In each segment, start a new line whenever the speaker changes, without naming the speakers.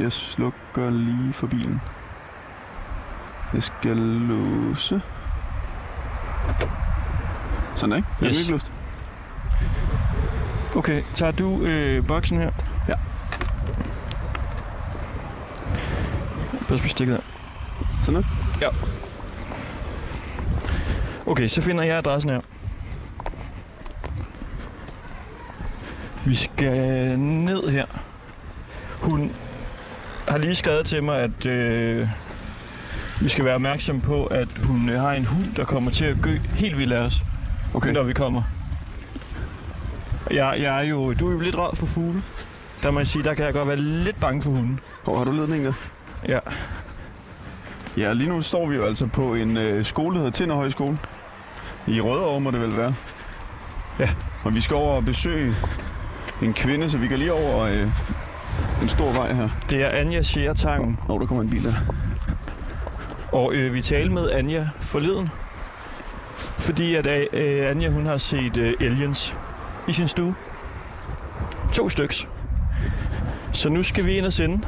Jeg slukker lige for bilen. Jeg skal låse. Sådan der, ikke? Jeg
Yes.
yes. ikke låst.
Okay, tager du øh, boksen her?
Ja.
Pas på stikket der.
Sådan der.
Okay, så finder jeg adressen her. Vi skal ned her. Hun har lige skrevet til mig, at øh, vi skal være opmærksom på, at hun øh, har en hund, der kommer til at gø helt vildt af os. okay.
Okay.
når vi kommer. Jeg, jeg er jo, du er jo lidt rød for fugle. Der må jeg sige, der kan jeg godt være lidt bange for hunden.
Hvor har du ledningen der?
Ja.
Ja, lige nu står vi jo altså på en øh, skole, der hedder Tinder Højskole. I Rødovre må det vel være.
Ja.
Og vi skal over og besøge en kvinde, så vi går lige over øh, en stor vej her.
Det er Anja Schertangen,
Nå, der kommer en bil der.
og øh, vi talte med Anja forleden. Fordi at øh, Anja, hun har set øh, Aliens i sin stue. To styks. Så nu skal vi ind og sende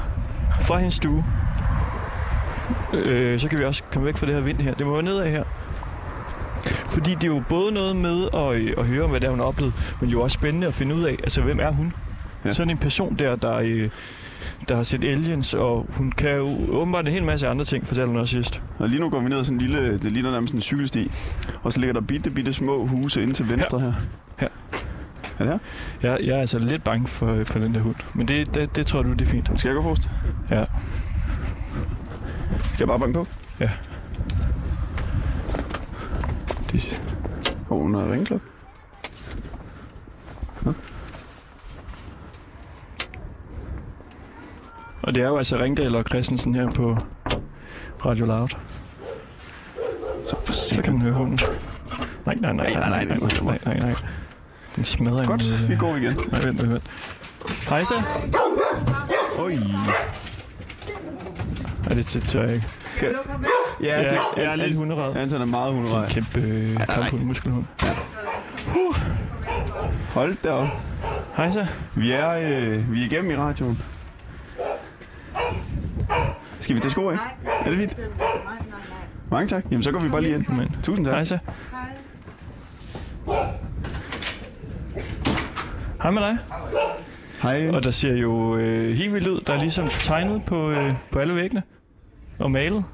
fra hendes stue. Øh, så kan vi også komme væk fra det her vind her. Det må være nedad her. Fordi det er jo både noget med at, øh, at høre om, hvad det er, hun har oplevet, men jo også spændende at finde ud af, altså hvem er hun?
Ja.
Ja. Sådan en person der, der, øh, der har set aliens, og hun kan jo åbenbart en hel masse andre ting, fortalte hun også sidst.
Og lige nu går vi ned ad sådan en lille, det ligner nærmest en cykelsti. Og så ligger der bitte, bitte små huse inde til venstre her.
Her.
Er det her?
Jeg, jeg er altså lidt bange for, for den der hund, men det, det, det tror du, det er fint.
Skal jeg gå forrest?
Ja.
Skal jeg bare banke på?
Ja.
Det... Og hun har ringklok.
Og det er jo altså Ringdal og Christensen her på Radio Loud.
Så for
Så kan man høre hunden. Nej, nej, nej, nej, nej, nej, nej, nej, nej. Den smadrer øh,
Godt, vi går igen.
Nej, vent, vent, vent. Hej så.
Oj.
Nej, det, det tør jeg ikke.
Ja,
Jeg,
det,
jeg, jeg er lidt hunderad. Det
Anton er meget
er
hunderej.
en kæmpe øh, kamphund, muskelhund.
Hold da op.
Hej så.
Vi er, øh, vi er igennem i radioen. Skal vi tage sko af?
Nej,
Er det fint?
nej, nej, nej.
Mange tak. Jamen, så går vi bare lige ind.
Men,
Tusind tak.
hej så.
Hej.
Hej med dig.
Hej.
Og der ser jo øh, helt vildt ud. Der er ligesom tegnet på, øh, på alle væggene. Og malet.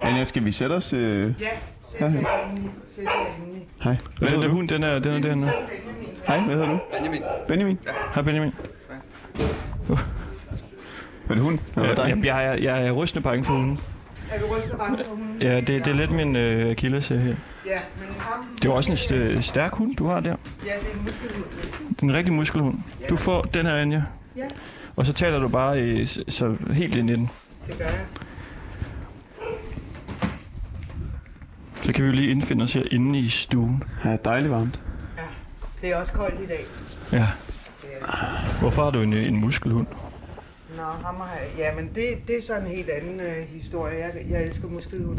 Anja, skal vi sætte os? Øh...
Ja, sæt dig inde. i. Sæt dig inde. i.
Hej. Hvad
Og den
hedder
der
du?
hund, den er, den er dernede.
Benjamin,
Hej, hvad hedder du?
Benjamin.
Benjamin.
Hej Benjamin.
Er det hun? Eller dig?
Jeg, jeg, er- jeg er rystende bange for hunden.
Er du rystet bange for hunden?
Ja, det, det er lidt min øh, akilles her. Det
Ja, men ham...
er jo også en st- stærk hund, du har der.
Ja, det er en muskelhund.
Det er en rigtig muskelhund. Du får den her, Anja.
Ja.
Og så taler du bare øh, så, så helt ind i den.
Det gør jeg.
Så kan vi jo lige indfinde os her inde i stuen.
Ja, dejligt varmt.
Det er også koldt i dag.
Ja.
Ja.
Hvorfor har du en, øh, en muskelhund?
Nå, ham har jeg... Ja, men det, det er sådan en helt anden øh, historie. Jeg, jeg elsker muskelhund.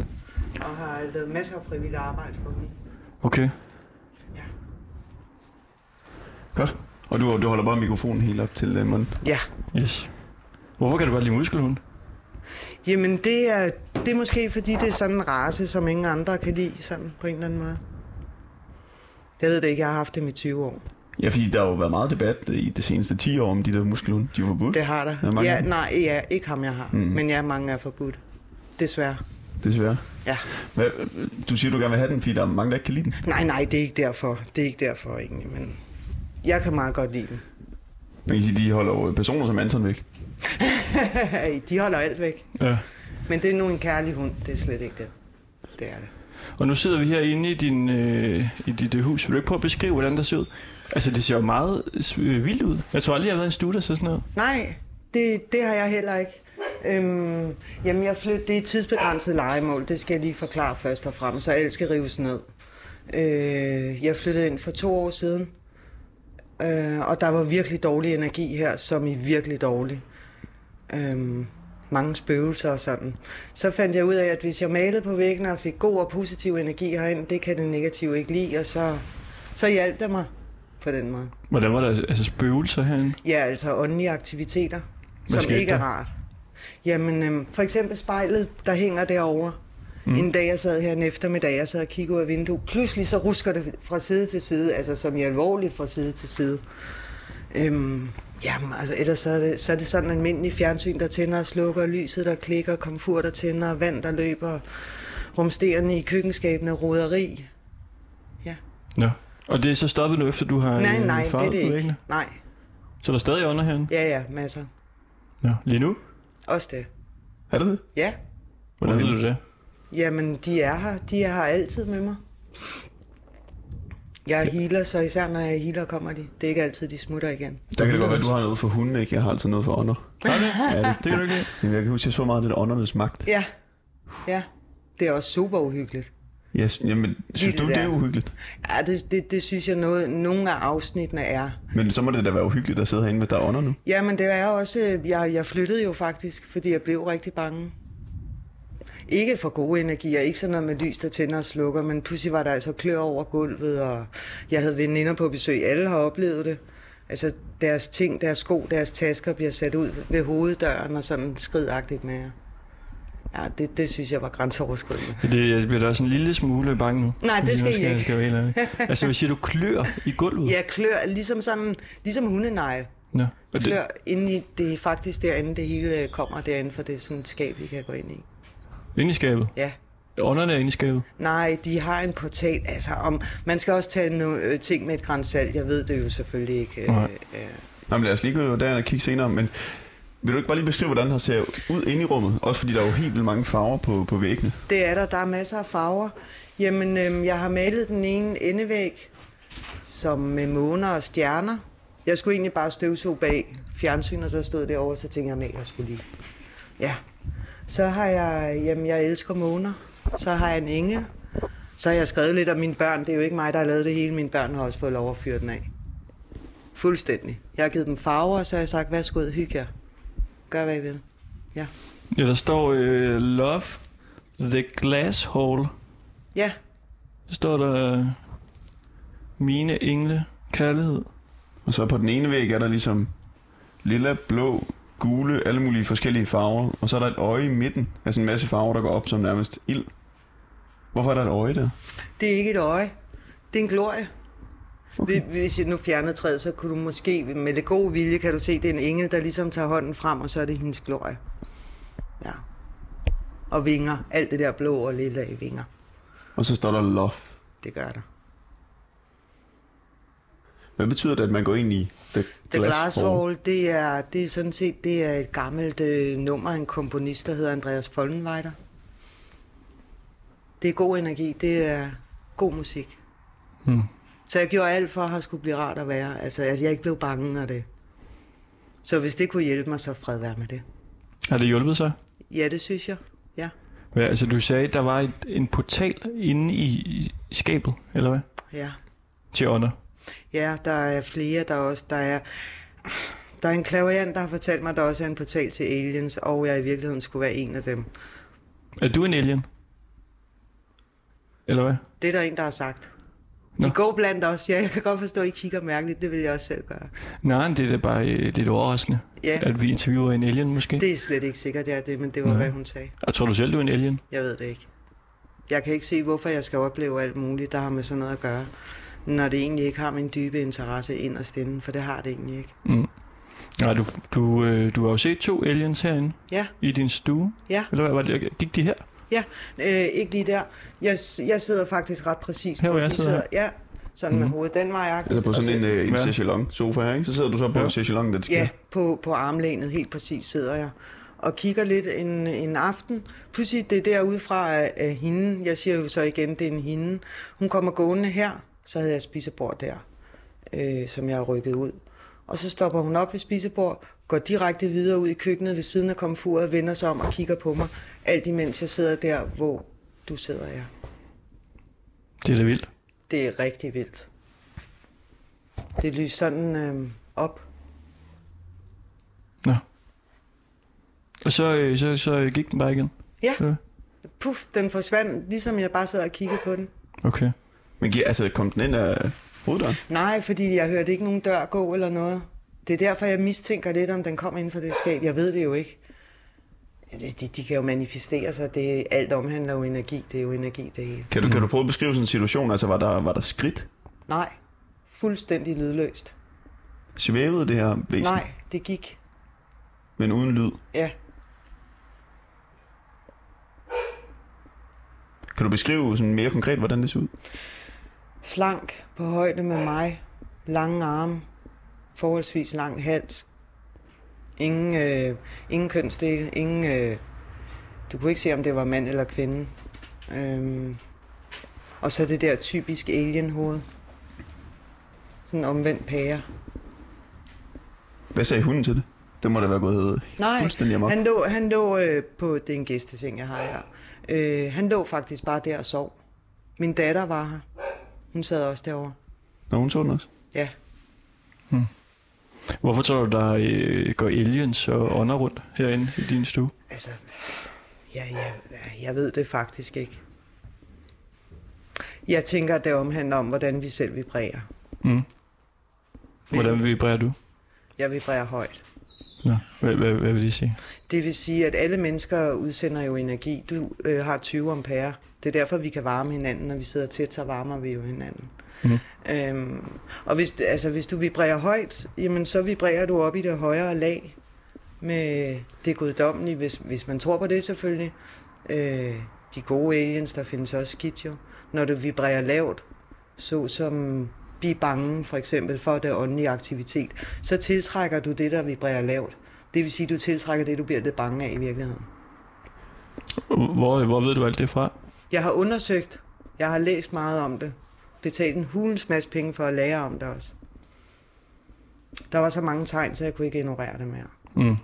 Og har lavet masser af frivilligt arbejde for dem.
Okay.
Godt. Og du, du holder bare mikrofonen helt op til øh, munden.
Ja.
Yes. Hvorfor kan du godt lide muskelhund?
Jamen, det er, det er måske, fordi det er sådan en race, som ingen andre kan lide, sådan på en eller anden måde. Jeg ved det ikke, jeg har haft dem i 20 år.
Ja, fordi der har jo været meget debat øh, i det seneste 10 år om de der muskelhunde. De er forbudt,
Det har der.
Er der mange
ja,
af dem?
nej, ja, ikke ham, jeg har.
Mm.
Mm. Men ja, mange er forbudt. Desværre.
desværre.
Ja.
Hvad, øh, du siger, du gerne vil have den, fordi der er mange, der ikke kan lide den.
Nej, nej, det er ikke derfor. Det er ikke derfor egentlig, men jeg kan meget godt lide dem.
Man kan sige, de holder jo personer som Anton væk.
De holder alt væk.
Ja.
Men det er nu en kærlig hund. Det er slet ikke det. Det er det.
Og nu sidder vi herinde i, din, øh, i dit øh, hus. Vil du ikke prøve at beskrive, hvordan der ser ud? Altså, det ser jo meget øh, vildt ud. Jeg tror aldrig, jeg har været i en stue, der ser sådan noget.
Nej, det, det har jeg heller ikke. Øhm, jamen, jeg flyt, det er et tidsbegrænset legemål. Det skal jeg lige forklare først og fremmest, så alt skal rives ned. Øh, jeg flyttede ind for to år siden, øh, og der var virkelig dårlig energi her, som i virkelig dårlig. Øhm, mange spøgelser og sådan. Så fandt jeg ud af, at hvis jeg malede på væggene og fik god og positiv energi herind, det kan det negative ikke lide, og så, så hjalp det mig på den måde.
Hvordan var der altså spøgelser herinde?
Ja, altså åndelige aktiviteter. som
skete
ikke er
der?
rart. Jamen, øhm, for eksempel spejlet, der hænger derovre. Mm. En dag, jeg sad her en eftermiddag, jeg sad og kiggede ud af vinduet. Pludselig så rusker det fra side til side, altså som i alvorligt fra side til side. Øhm, jamen, altså ellers så er, det, så er det sådan almindelig fjernsyn, der tænder og slukker, lyset der klikker, komfur der tænder, vand der løber, rumsterende i køkkenskabene, roderi. Ja.
Ja. Og det er så stoppet nu, efter du har
Nej,
øh,
nej, det er
farvet
det ikke.
væggene?
Nej,
Så der er stadig under herinde?
ja, ja, masser.
Ja. Lige nu?
Også det.
Er det det?
Ja,
Hvordan
Okay.
ved du det?
Jamen, de er her. De er her altid med mig. Jeg er healer, så især når jeg er healer, kommer de. Det er ikke altid, de smutter igen.
Der kan det godt være, du har noget for hunden, ikke? Jeg har altid noget for ånder.
Har det?
Ja, det,
Det kan du ikke lide.
Jamen, jeg kan huske, jeg så meget af det der åndernes magt.
Ja, ja. Det er også super uhyggeligt.
Jeg, s- jamen, synes
Lige
du,
det
det er
der.
uhyggeligt?
Ja, det, det, det synes jeg, noget, nogle af afsnittene er.
Men så må det da være uhyggeligt at sidde herinde, hvis der er ånder nu.
Jamen, det er også... øh, Jeg, jeg flyttede jo faktisk, fordi jeg blev rigtig bange. Ikke for gode energier, ikke sådan noget med lys, der tænder og slukker, men pludselig var der altså klør over gulvet, og jeg havde veninder på besøg. Alle har oplevet det. Altså, deres ting, deres sko, deres tasker bliver sat ud ved hoveddøren og sådan skridagtigt med jer. Ja, det, det synes jeg var grænseoverskridende.
Det, jeg bliver da også en lille smule bange nu.
Nej, det
Lige nu
skal I ikke.
Jeg skal jeg være helt ærlig. altså, hvis siger, du klør i gulvet?
Jeg klør ligesom sådan, ligesom hundenegl.
Nå. Og det,
Klør inde i, det er faktisk derinde, det hele øh, kommer derinde, for det er sådan et skab, I kan gå ind i.
Inde i skabet?
Ja.
Ånderne er inde i skabet?
Nej, de har en portal. Altså, om, man skal også tage nogle øh, ting med et grænsalt. Jeg ved det jo selvfølgelig ikke. Øh,
Nej.
øh,
Jamen, lad os lige gå derhen og kigge senere, men vil du ikke bare lige beskrive, hvordan her ser ud inde i rummet? Også fordi der er jo helt vildt mange farver på, på væggene.
det er der. Der er masser af farver. Jamen, øh, jeg har malet den ene endevæg, som med måner og stjerner. Jeg skulle egentlig bare støvsuge bag fjernsynet, der stod derovre, så tænkte jeg, at jeg skulle lige. Ja. Så har jeg, jamen jeg elsker måner. Så har jeg en engel. Så har jeg skrevet lidt om mine børn. Det er jo ikke mig, der har lavet det hele. Mine børn har også fået lov at fyre den af. Fuldstændig. Jeg har givet dem farver, og så har jeg sagt, værsgo, hygge jer. Gør, hvad I vil. Ja.
Ja, der står øh, Love the Glass Hall.
Ja,
Der står der øh, Mine engle kærlighed.
Og så på den ene væg er der ligesom lilla, blå, gule, alle mulige forskellige farver. Og så er der et øje i midten af sådan en masse farver, der går op som nærmest ild. Hvorfor er der et øje der?
det er ikke et øje. Det er en glorie. Okay. Hvis jeg nu fjernede træet, så kunne du måske med det gode vilje, kan du se, det er en engel, der ligesom tager hånden frem, og så er det hendes glorie. Ja. Og vinger. Alt det der blå og lilla i vinger.
Og så står der love.
Det gør der.
Hvad betyder det, at man går ind i the,
The
glass,
Glass
hall?
Wall, det er, det er sådan set det er et gammelt øh, nummer af en komponist, der hedder Andreas Follenweider. Det er god energi, det er god musik.
Hmm.
Så jeg gjorde alt for, at her skulle blive rart at være. Altså, at jeg ikke blev bange af det. Så hvis det kunne hjælpe mig, så fred være med det.
Har det hjulpet sig?
Ja, det synes jeg. Ja.
Ja, altså, du sagde, der var et, en portal inde i, i skabet, eller hvad?
ja.
Til ånder.
Ja, der er flere, der også, der er, der er en klaverant, der har fortalt mig, at der også er en portal til aliens, og jeg i virkeligheden skulle være en af dem.
Er du en alien? Eller hvad?
Det er der en, der har sagt.
Nå.
De går blandt os. Ja, jeg kan godt forstå, at I kigger mærkeligt. Det vil jeg også selv gøre.
Nej, det er da bare øh, lidt overraskende,
Ja,
at vi interviewer en alien måske.
det er slet ikke sikkert, det er det, men det var,
Nej.
hvad hun sagde.
Og tror du selv, du er en alien?
Jeg ved det ikke. Jeg kan ikke se, hvorfor jeg skal opleve alt muligt, der har med sådan noget at gøre, når det egentlig ikke har min dybe interesse ind og stemme, for det har det egentlig ikke.
Mm. Nej, du, du, øh, du har jo set to aliens herinde
Ja,
i din stue.
ja.
Eller hvad var det? Gik de her?
Øh, ikke lige der. Jeg, s- jeg sidder faktisk ret præcist.
Her, hvor jeg
Du
sidder her.
Ja, sådan mm. med
Mhm.
hovedet den vej. agtigt.
Altså på
Og så-
sådan en, øh, en
Ja.
ja. sofa her, ikke? Så sidder du så på
Ja.
ja. chaiselong, der det sker.
Ja, på, på armlænet helt præcis sidder jeg og kigger lidt en, en aften. Pludselig det er derude fra af, af hende, jeg siger jo så igen, det er en hende. Hun kommer gående her, så havde jeg et spisebord der, øh, som jeg har rykket ud. Og så stopper hun op ved spisebord, går direkte videre ud i køkkenet ved siden af komfuret, vender sig om og kigger på mig. Alt imens jeg sidder der, hvor du sidder, ja.
Det er da vildt.
Det er rigtig vildt. Det lyser sådan øh, op.
Og så, øh, så, så gik den bare igen.
Ja.
Eller hvad?
Puff, den forsvandt, ligesom jeg bare sad og kiggede på den.
Okay.
Men giver, altså, kom den ind af hoveddøren?
Nej, fordi jeg hørte ikke nogen dør gå eller noget. Det er derfor, jeg mistænker lidt, om den kommer inden for det skab. Jeg ved det jo ikke. De, de, de kan jo manifestere sig. Det, alt omhandler jo energi. Det er jo energi, det hele.
Kan du,
Mm.
kan du prøve at beskrive sådan en situation? Altså, var der, var der skridt?
Nej, fuldstændig lydløst.
Svævede det her væsen,
Nej, det gik.
men uden lyd?
Ja,
Kan du beskrive sådan mere konkret, hvordan det så ud?
slank på højde med mig. Lange arme, forholdsvis lang hals. Ingen, øh, ingen kønsdel, ingen... Øh, du kunne ikke se, om det var mand eller kvinde. Øhm, og så det der typisk alien-hoved. Sådan en omvendt pære.
Hvad sagde hunden til det? Det må da være gået
Nej,
fuldstændig amok.
han lå, han lå øh, på, det er en gæsteseng, jeg har her. Øh, han lå faktisk bare der og sov. Min datter var her. Hun sad også derovre.
Når hun så den også?
Ja,
Hvorfor tror du, der øh, går aliens og ånder rundt herinde i din stue?
altså, ja, ja, jeg ved det faktisk ikke. Jeg tænker, at det omhandler om, hvordan vi selv vibrerer.
Mm. Hvordan vibrerer du?
Jeg vibrerer højt.
Ja. Hvad, hvad, hvad vil det sige?
Det vil sige, at alle mennesker udsender jo energi. Du øh, har 20 ampere. Det er derfor, vi kan varme hinanden. Når vi sidder tæt, så varmer vi jo hinanden.
Mhm.
Mm. Øhm, og hvis, altså, hvis du vibrerer højt, jamen, så vibrerer du op i det højere lag med det guddommelige, hvis, hvis man tror på det selvfølgelig. Øh, de gode aliens, der findes også skidt jo. Når du vibrerer lavt, så som blive bange for eksempel for det åndelige aktivitet, så tiltrækker du det, der vibrerer lavt. Det vil sige, at du tiltrækker det, du bliver lidt bange af i virkeligheden.
Hvor, hvor ved du alt det fra?
Jeg har undersøgt, jeg har læst meget om det, betalt en hulens masse penge for at lære om det også. Der var så mange tegn, så jeg kunne ikke ignorere det mere.
Mm.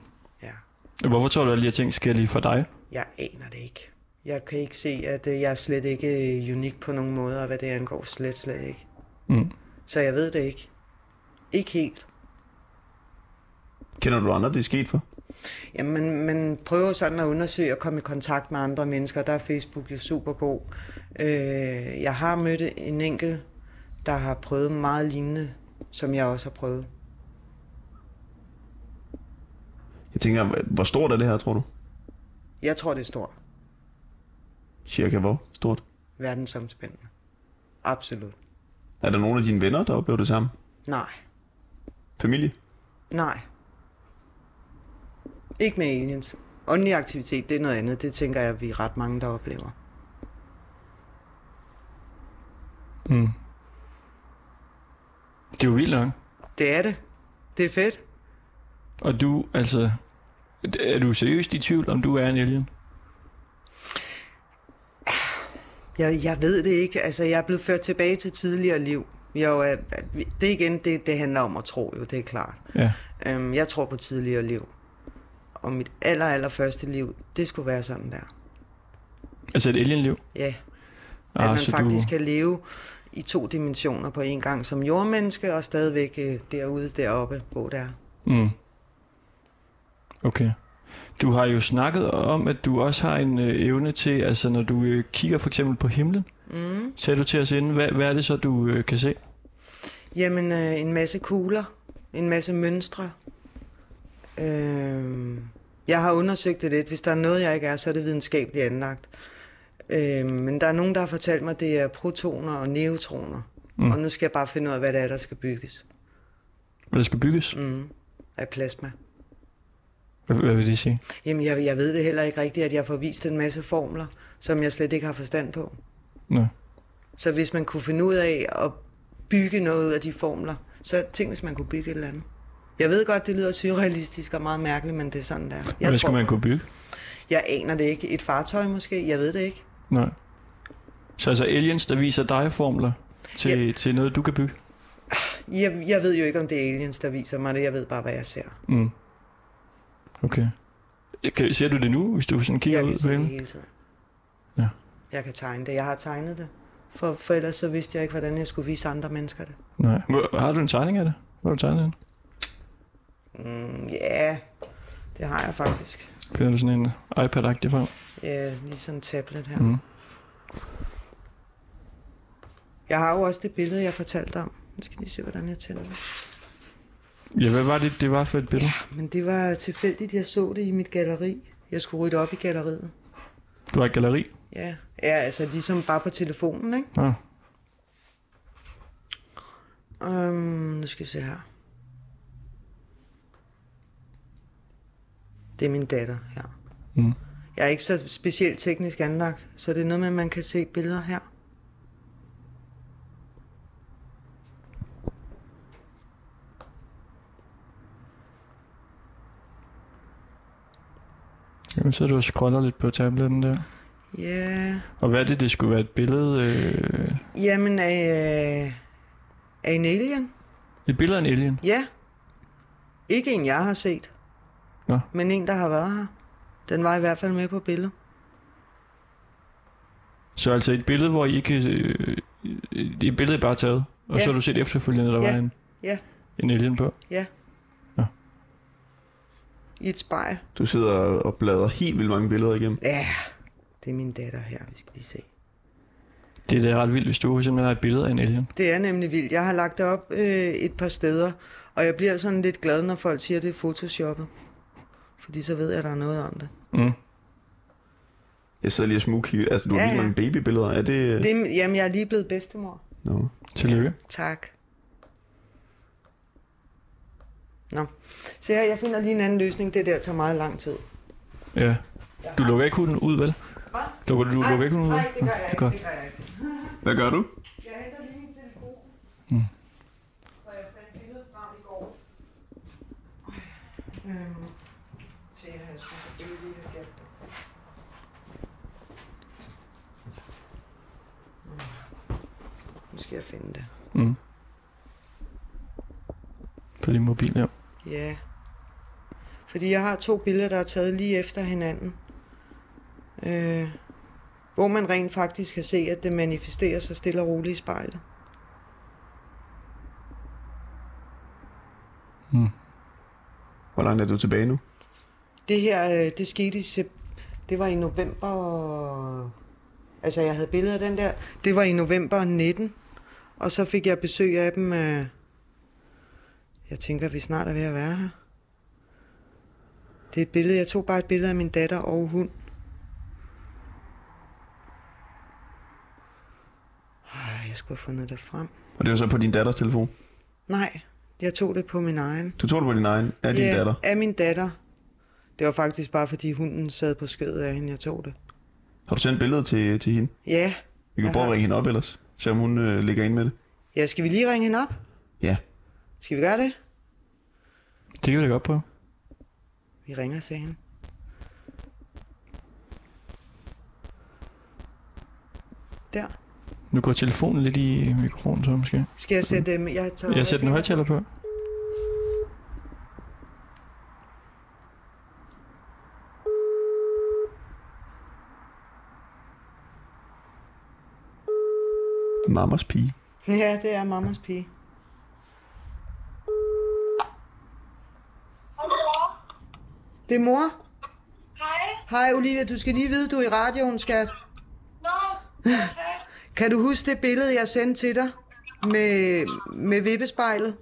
Ja.
Hvorfor tror du, at alle de her ting sker lige for dig?
Jeg aner det ikke. Jeg kan ikke se, at øh, jeg er slet ikke øh, unik på nogen måde, og hvad det angår slet, slet ikke.
Mm.
Så jeg ved det ikke. Ikke helt.
Kender du andre, det er sket for?
Jamen, man, man prøver sådan at undersøge og komme i kontakt med andre mennesker. Der er Facebook jo super god. Øh, jeg har mødt en enkelt, der har prøvet meget lignende, som jeg også har prøvet.
Jeg tænker, hvor stort er det her, tror du?
Jeg tror, det er stort.
Cirka hvor stort?
Verdensomspændende. Absolut.
Er der nogen af dine venner, der oplever det samme?
Nej.
Familie?
Nej. Ikke med aliens. Åndelig aktivitet, det er noget andet. Det tænker jeg, vi er ret mange, der oplever.
Mm. Det er jo vildt nok.
Det er det. Det er fedt.
Og du, altså... Er du seriøst i tvivl, om du er en alien?
Jeg, jeg ved det ikke. Altså, jeg er blevet ført tilbage til tidligere liv. Jo, at, at, vi- det er igen, det, det handler om at tro, jo, det er klart.
Ja.
Øhm, jeg tror på tidligere liv. Og mit aller, aller første liv, det skulle være sådan der.
Altså et alienliv?
Ja, at
Ah,
man
så
faktisk
du...
kan leve i to dimensioner på en gang som jordmenneske, og stadigvæk øh, derude, deroppe, hvor der er.
Mm. Okay. Du har jo snakket om, at du også har en øh, evne til, altså når du øh, kigger for eksempel på himlen,
Mm.
sagde du til os inden, hvad, hvad er det så, du øh, kan se?
Jamen, øh, en masse kugler, en masse mønstre. Øh, jeg har undersøgt det lidt. Hvis der er noget, jeg ikke er, så er det videnskabeligt anlagt. Øh, men der er nogen, der har fortalt mig, at det er protoner og neutroner.
Mm.
Mm. Og nu skal jeg bare finde ud af, hvad det er, der skal bygges
Hvad der skal bygges?
mm. af plasma.
Hvad, hvad vil det sige?
Jamen, jeg, jeg ved det heller ikke rigtigt, at jeg får vist en masse formler, som jeg slet ikke har forstand på.
Nå.
Så hvis man kunne finde ud af at bygge noget ud af de formler, så tænk, hvis man kunne bygge et eller andet. Jeg ved godt, det lyder surrealistisk og meget mærkeligt, men det er sådan, der. Jeg,
Hvad skal man kunne bygge?
jeg aner det ikke. Et fartøj måske? Jeg ved det ikke.
Nej. Så altså aliens, der viser dig formler til, til noget, du kan bygge?
Jeg, jeg ved jo ikke, om det er aliens, der viser mig det. Jeg ved bare, hvad jeg ser.
Mm. Okay. Kan, ser du det nu, hvis du sådan kigger
jeg kan
ud på
se det
himlen?
hele tiden.
Ja.
Jeg kan tegne det. Jeg har tegnet det. For, for ellers så vidste jeg ikke, hvordan jeg skulle vise andre mennesker det.
Nej. Hvor, har du en tegning af det? Hvor har du tegnet den?
Mm, ja, det har jeg faktisk.
Finder du sådan en iPad-agtig frem?
Ja, lige sådan en tablet her.
Mm.
Jeg har jo også det billede, jeg fortalte om. Nu skal jeg lige se, hvordan jeg tænder det.
Ja, hvad var det, det var for et billede? Ja.
Men det var tilfældigt, jeg så det i mit galleri. Jeg skulle rydde op i galleriet.
Det var et galeri.
Ja, ja altså ligesom bare på telefonen, ikke?
Ja.
Um, nu skal vi se her. Det er min datter her.
Mm.
Jeg er ikke så specielt teknisk anlagt, så det er noget med, at man kan se billeder her.
Jamen, så du og scroller lidt på tabletten der.
Ja, yeah.
Og hvad er det, det skulle være et billede? Øh,
jamen af, af en alien.
et billede af en alien?
Ja. Ikke en, jeg har set.
Nå.
Men en, der har været her. Den var i hvert fald med på billedet.
Så altså et billede, hvor I ikke... Øh, øh, et billede er bare taget, og
Ja.
så har du set efterfølgende, der
Ja.
var en,
Ja.
en alien på.
I et spejl.
Du sidder og bladrer helt vildt mange billeder igennem.
Ja, det er min datter her, vi skal lige se.
Det er da ret vildt, hvis du simpelthen har et billede af en alien.
Det er nemlig vildt. Jeg har lagt det op øh, et par steder, og jeg bliver sådan lidt glad, når folk siger, at det er photoshoppet. Fordi så ved jeg, at der er noget om det.
Mm.
Jeg sidder lige og smugkigger. Altså, du har
Ja,
vildt
ja.
mange babybilleder. Er det... øh,
det er- jamen, jeg er lige blevet bedstemor.
Nå.
Tillykke.
Tak. Nå, se her, jeg finder lige en anden løsning. Det der tager meget lang tid.
Ja. Du lukker ikke hunden ud, vel? Du, du lukker ikke hunden ud?
Nej, det gør
Nå, Mm. godt.
jeg ikke. Det gør jeg ikke.
Hvad gør du?
Jeg henter lige min telefon. Og jeg fandt billedet frem i går. Øhm, se her, jeg synes, at det er lige har gemt det. Mm. Nu skal jeg finde det.
Mm. På din mobil, ja.
Ja. Fordi jeg har to billeder, der er taget lige efter hinanden. Øh, hvor man rent faktisk kan se, at det manifesterer sig stille og roligt i spejlet.
Mm.
Hvor langt er du tilbage nu?
Det her, øh, det skete i sep- det var i november, altså jeg havde billeder af den der, det var i november 19, og så fik jeg besøg af dem, øh, jeg tænker, vi snart er ved at være her. Det er et billede, jeg tog bare et billede af min datter og hund. Ej, jeg skulle have fundet det frem.
Og det var så på din datters telefon.
Nej, jeg tog det på min egen.
Du tog det på din egen af din
Ja,
datter.
af min datter. Det var faktisk bare, fordi hunden sad på skødet af hende, jeg tog det.
Har du sendt billedet til, til hende?
Ja.
Vi kan
Jeg
prøve at
har.
ringe hende op ellers. Se om hun øh, ligger ind med det.
ja, skal vi lige ringe hende op?
Ja.
Skal vi gøre det?
Det kan vi da godt prøve.
Vi ringer til hende. Der.
Nu går telefonen lidt i mikrofonen, så måske.
Skal jeg sætte dem? Jeg, tager
Jeg sætter en højtaler på.
Mamas pige.
Ja, det er mammas pige. Det er mor.
Hej.
Hej Olivia, du skal lige vide, du er i radioen, skat.
Nå. Okay.
Kan du huske det billede, jeg sendte til dig med, med vippespejlet?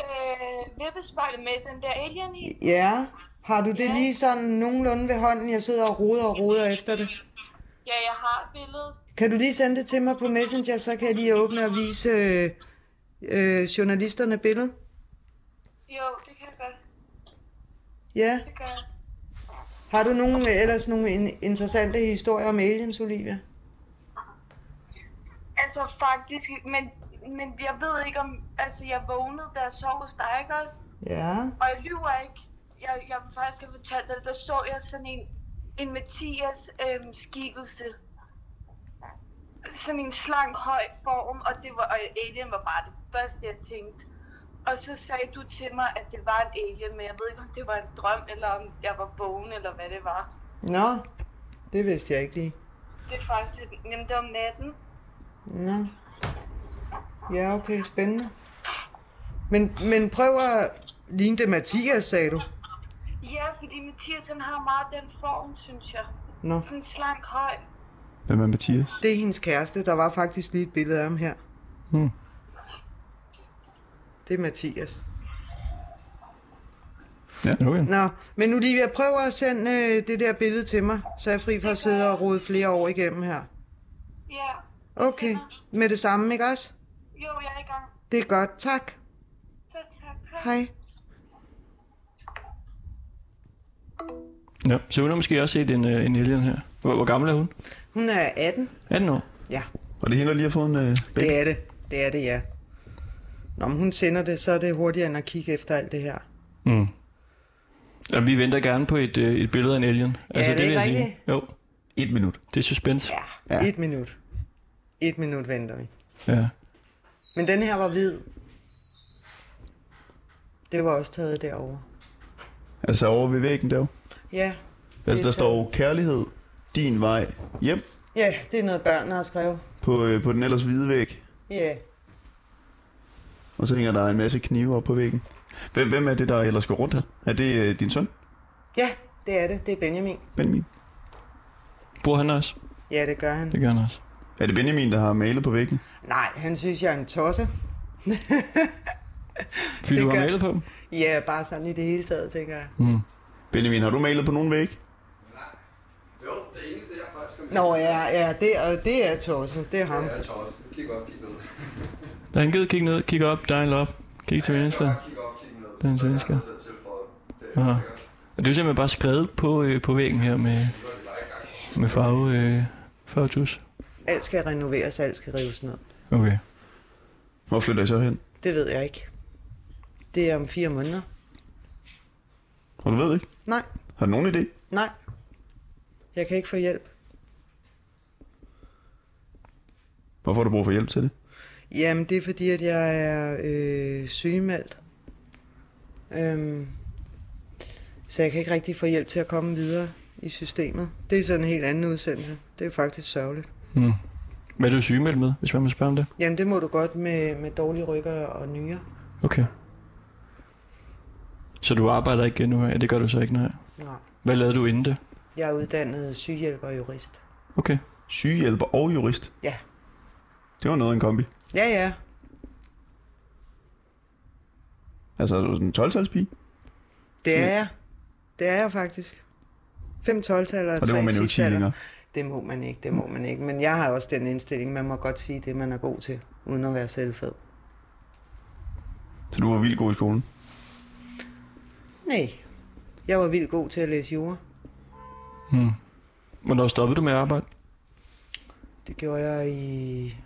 Øh, vippespejlet med den der alien i.
Ja. Har du det
Ja.
lige sådan nogenlunde ved hånden? Jeg sidder og roder og roder efter det.
Ja, jeg har billedet.
Kan du lige sende det til mig på Messenger, så kan jeg lige åbne og vise øh, øh, journalisterne billedet?
Jo, det kan jeg godt.
Ja.
Det gør jeg.
Har du nogen, øh, ellers nogle in- interessante historier om aliens, Olivia?
Altså faktisk, men, men jeg ved ikke om... Altså, jeg vågnede, da jeg sov hos dig, ikke også?
Ja.
Og jeg lyver ikke. Jeg, jeg vil faktisk have fortalt dig, der så jeg sådan en, en Mathias øhm, skikkelse. Sådan en slank høj form, og, det var, og alien var bare det første, jeg tænkte. Og så sagde du til mig, at det var en alien, men jeg ved ikke, om det var en drøm, eller om jeg var vågen, eller hvad det var.
Nå, det vidste jeg ikke lige.
Det er faktisk lidt nemt om natten.
Nå. Ja, okay, spændende. Men, men prøv at ligne det Mathias, sagde du.
Ja, fordi Mathias han har meget den form, synes jeg.
Nå.
Sådan en slank høj.
Hvem er Mathias?
Det er hendes kæreste. Der var faktisk lige et billede af ham her.
Hmm.
Det er Mathias.
Okay.
Nå, men nu lige, jeg prøver at sende øh, det der billede til mig, så jeg er fri for at sidde og rode flere år igennem her.
Ja.
Okay, med det samme, ikke også?
Jo, jeg er i gang.
Det er godt, tak.
Så tak.
Hej.
Ja, så hun har måske også set en, øh, en alien her. Hvor, hvor gammel er hun?
Hun er 18.
18 år.
Ja,
Og det er hende, der lige har fået en øh, bæk.
det er det. Det er det, ja. Nå, men hun sender det, så er det hurtigere end at kigge efter alt det her.
Mm. Ja, vi venter gerne på et, øh, et billede af en alien. Altså,
er det
vil jeg
ikke
sige.
rigtigt?
Jo,
Et minut.
det er suspense. Ja.
Ja.
Ja. Et minut. Et minut venter vi.
ja.
Men den her var hvid. Det var også taget derovre.
Altså over ved væggen der.
Ja,
Altså
Det er
der står kærlighed, din vej hjem
ja det er noget børn har skrevet.
på, øh, på den ellers hvide væg.
Ja,
Og så hænger der en masse knive op på væggen. Hvem, hvem er det, der ellers går rundt her? Er det øh, din søn,
ja det er det. Det er Benjamin.
Benjamin?
Bor han også?
Ja, det gør han.
Det gør han også.
Er det Benjamin, der har malet på væggen?
Nej, han synes, jeg er en tosse.
Fordi
Det
du har
gør-
malet på dem?
Ja, bare sådan i det hele taget, tænker jeg.
Mm.
Benjamin, har du malet på nogen væg?
Jo, det eneste jeg faktisk har med,
Nå ja, ja det, og det er tosse. Det er ham.
det er Thorsten. Kig op, kig ned.
Der er en ged, kig ned, kig op, dial op, kig til venstre.
Bare kig op, kig ned.
er en svensker.
Så er der tilføjet. Det er
Aha.
ikke også?
Og det er jo simpelthen bare skrevet på, øh, på væggen her med, med farve, øh, farvetus.
Alt skal renoveres, alt skal rives ned.
Okay.
Hvor flytter I så hen?
Det ved jeg ikke. Det er om fire måneder.
Og du ved det ikke?
Nej,
Har du nogen idé?
nej. Jeg kan ikke få hjælp.
Hvorfor har du brug for hjælp til det?
Jamen, det er fordi, at jeg er øh, sygemeldt. Øhm, så jeg kan ikke rigtig få hjælp til at komme videre i systemet. Det er sådan en helt anden udsendelse. Det er faktisk sørgeligt.
Mm. Hvad er du sygemeldt med, hvis man må spørge om det?
Jamen, det må du godt med, med dårlige rykker og nyere.
Okay. Så du arbejder ikke nu her? Ja, det gør du så ikke, nej.
Nej.
Hvad lavede du inden det?
Jeg er uddannet sygehjælper og jurist.
Okay.
Sygehjælper og jurist.
Ja.
Det var noget af en kombi.
Ja, ja.
Altså, er du sådan en 12-talspige?
Det er jeg. Det er jeg faktisk. 5 12 taler og
Og det var
3
man jo
10
ikke sige
taler
længere.
Det må man ikke, det må man ikke. Men jeg har også den indstilling, man må godt sige det, man er god til, uden at være selvfed.
Så du var vildt god i skolen.
Nej. Jeg var vildt god til at læse jura.
Mm. Hvornår stoppede du med at arbejde?
Det gjorde jeg i...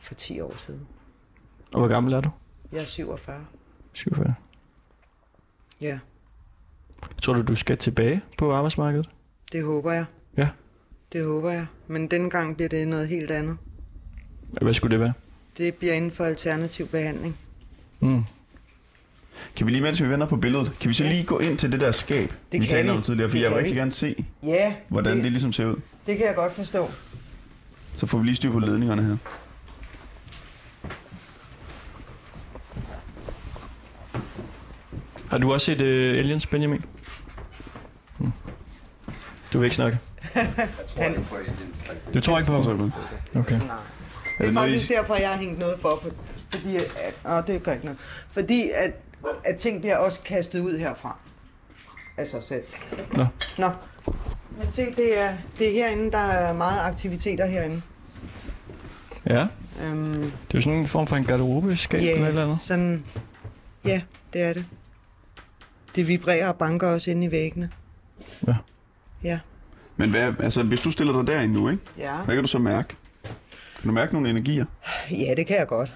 for 10 år siden.
Og hvor gammel er du?
Jeg er 47.
47.
Ja,
Tror du, du skal tilbage på arbejdsmarkedet?
det håber jeg.
Ja.
Det håber jeg. Men denne gang bliver det noget helt andet.
Hvad skulle det være?
Det bliver inden for alternativ behandling.
Mm.
Kan vi lige, mens vi vender på billedet, kan vi så lige gå ind til det der skab, vi
kan
talte
vi.
om tidligere? For
Det
jeg vil
kan
rigtig
vi.
gerne se,
Ja,
hvordan det
det,
ligesom ser ud.
det kan jeg godt forstå.
Så får vi lige styr på ledningerne her.
Har du også set uh, Aliens, Benjamin? Mm. Du vil ikke snakke.
Jeg tror ikke på aliens. rigtigt.
Du tror ikke på
Så er det
ham?
med.
Okay.
Er
Det er
det noget, I...
faktisk derfor, jeg har hængt noget for, for fordi, at, åh, det gør ikke noget. Fordi at, at ting bliver også kastet ud herfra af sig selv.
Nå.
Nå, men se, det er, det er herinde, der er meget aktiviteter herinde.
Ja,
Øhm,
det er jo sådan en form for en garderobeskab yeah. eller et eller andet.
sådan, ja, det er det. Det vibrerer og banker også inde i væggene.
Ja.
Ja.
Men hvad, altså, hvis du stiller dig derinde nu, ikke?
Ja.
hvad kan du så mærke? Kan du mærke nogle energier?
Ja, det kan jeg godt.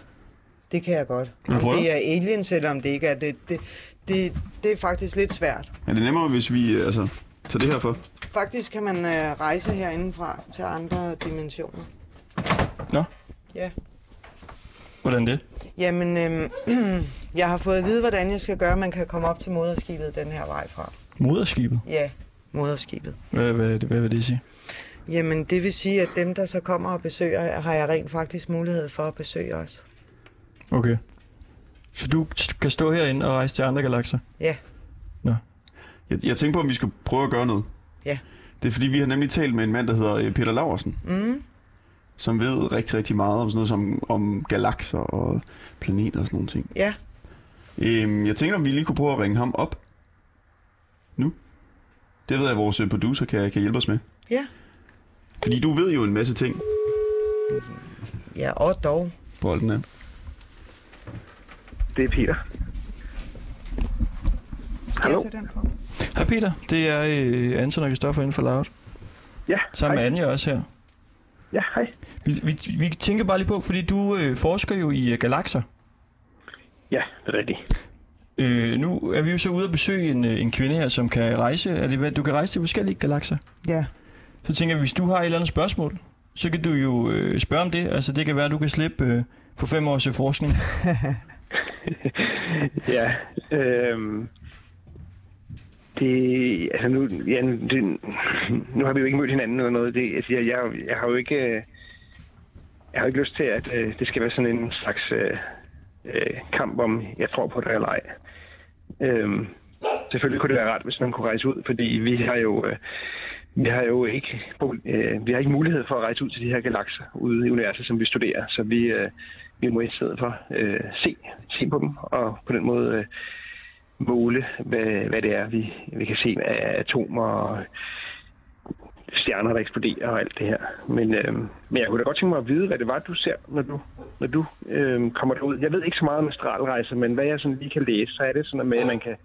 Det kan jeg godt.
du
Om
prøve?
det er aliens, eller om det ikke er det, det, det, det er faktisk lidt svært.
Er det nemmere, hvis vi øh, altså, tager det her for?
Faktisk kan man øh, rejse herindefra til andre dimensioner.
Nå,
Ja.
hvordan det?
Jamen, øh, jeg har fået at vide, hvordan jeg skal gøre, at man kan komme op til moderskibet den her vej fra.
Moderskibet.
Ja, moderskibet.
Hvad, hvad, hvad vil det sige?
Jamen, det vil sige, at dem, der så kommer og besøger, har jeg rent faktisk mulighed for at besøge os.
Okay. Så du st- kan stå herinde og rejse til andre galakser?
Ja,
Jeg, jeg tænker på, om vi skal prøve at gøre noget.
Ja.
Det er fordi, vi har nemlig talt med en mand, der hedder øh, Peter Laversen. Mm. som ved rigtig, rigtig meget om sådan noget som om galakser og planeter og sådan nogle ting.
Ja,
Øhm, jeg tænker, om vi lige kunne prøve at ringe ham op. Nu. Det ved jeg, at vores øh, producer kan, kan hjælpe os med.
ja.
Fordi du ved jo en masse ting.
Ja, og dog.
Bolden er.
Det er Peter. Hallo?
Hej Peter, det er øh, Anton og Kristoffer inden for Loud.
Ja,
Sammen med
hej.
Anja også her.
Ja, hej.
Vi, vi, vi tænker bare lige på, fordi du øh, forsker jo i øh, galakser.
Ja, det er rigtigt.
Øh, nu er vi jo så ude at besøge en, øh, en kvinde her, som kan rejse. Er det, hvad- du kan rejse til forskellige galakser.
Ja.
Så tænker jeg, hvis du har et eller andet spørgsmål, så kan du jo øh, spørge om det. Altså det kan være, at du kan slippe øh, for fem års øh, forskning.
Ja, øhm, det, altså nu, ja, nu- det, nu har vi jo ikke mødt hinanden eller noget. Det, altså, jeg, jeg, jeg har jo ikke, øh, jeg har jo ikke lyst til, at øh, det skal være sådan en slags øh, øh, kamp om, jeg tror på det eller ej. Øhm, selvfølgelig kunne det være rart, hvis man kunne rejse ud, fordi vi har jo, øh, vi har jo ikke, øh, vi har ikke mulighed for at rejse ud til de her galakser ude i universet, som vi studerer. Så vi, øh, vi må i stedet for øh, se, se på dem og på den måde øh, måle, hvad, hvad det er, vi, vi kan se af atomer og stjerner, der eksploderer og alt det her. Men, øh, men jeg kunne da godt tænke mig at vide, hvad det var, du ser, når du, når du øh, kommer derud. Jeg ved ikke så meget om astralrejser, men hvad jeg sådan lige kan læse, så er det sådan noget med, at man kan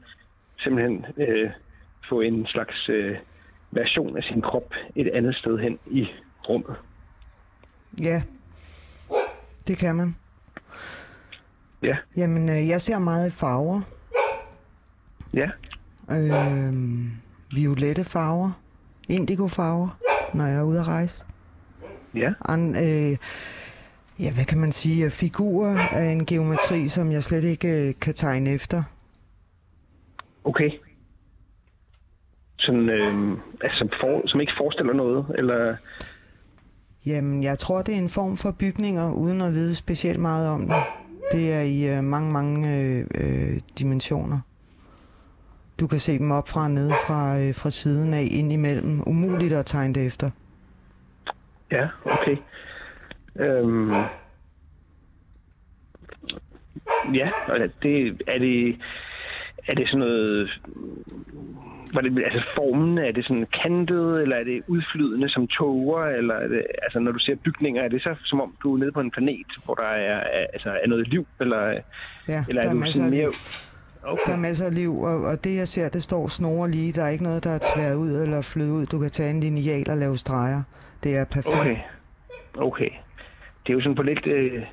simpelthen øh, få en slags øh, version af sin krop et andet sted hen i rummet.
Ja, det kan man.
Ja,
Jamen, øh, jeg ser meget i farver.
ja,
Øh, violette farver. Indigofarver, når jeg er ude at rejse.
ja,
An, øh, ja, hvad kan man sige? Øh, Figurer af en geometri, som jeg slet ikke øh, kan tegne efter.
okay. Sådan, øh, altså for, som ikke forestiller noget, eller...
Jamen, jeg tror, det er en form for bygninger, uden at vide specielt meget om det. Det er i øh, mange, mange øh, øh, dimensioner. Du kan se dem op fra og ned fra, øh, fra siden af, ind imellem. Umuligt at tegne det efter.
Ja, okay. Øhm, ja, og det, er det, er det sådan noget... Var det, altså formen, er det sådan kantet, eller er det udflydende som tåger, eller er det, altså når du ser bygninger, er det så som om du er nede på en planet, hvor der er, er- altså, er noget liv, eller,
Ja,
eller
der, er
er du
masser
sådan
af liv,
mere... Okay.
der er masser af liv, og, og det jeg ser, det står snore lige. Der er ikke noget, der er tværet ud eller flødet ud. Du kan tage en lineal og lave streger. Det er perfekt.
Okay. Okay. Det er jo sådan på lidt, øh,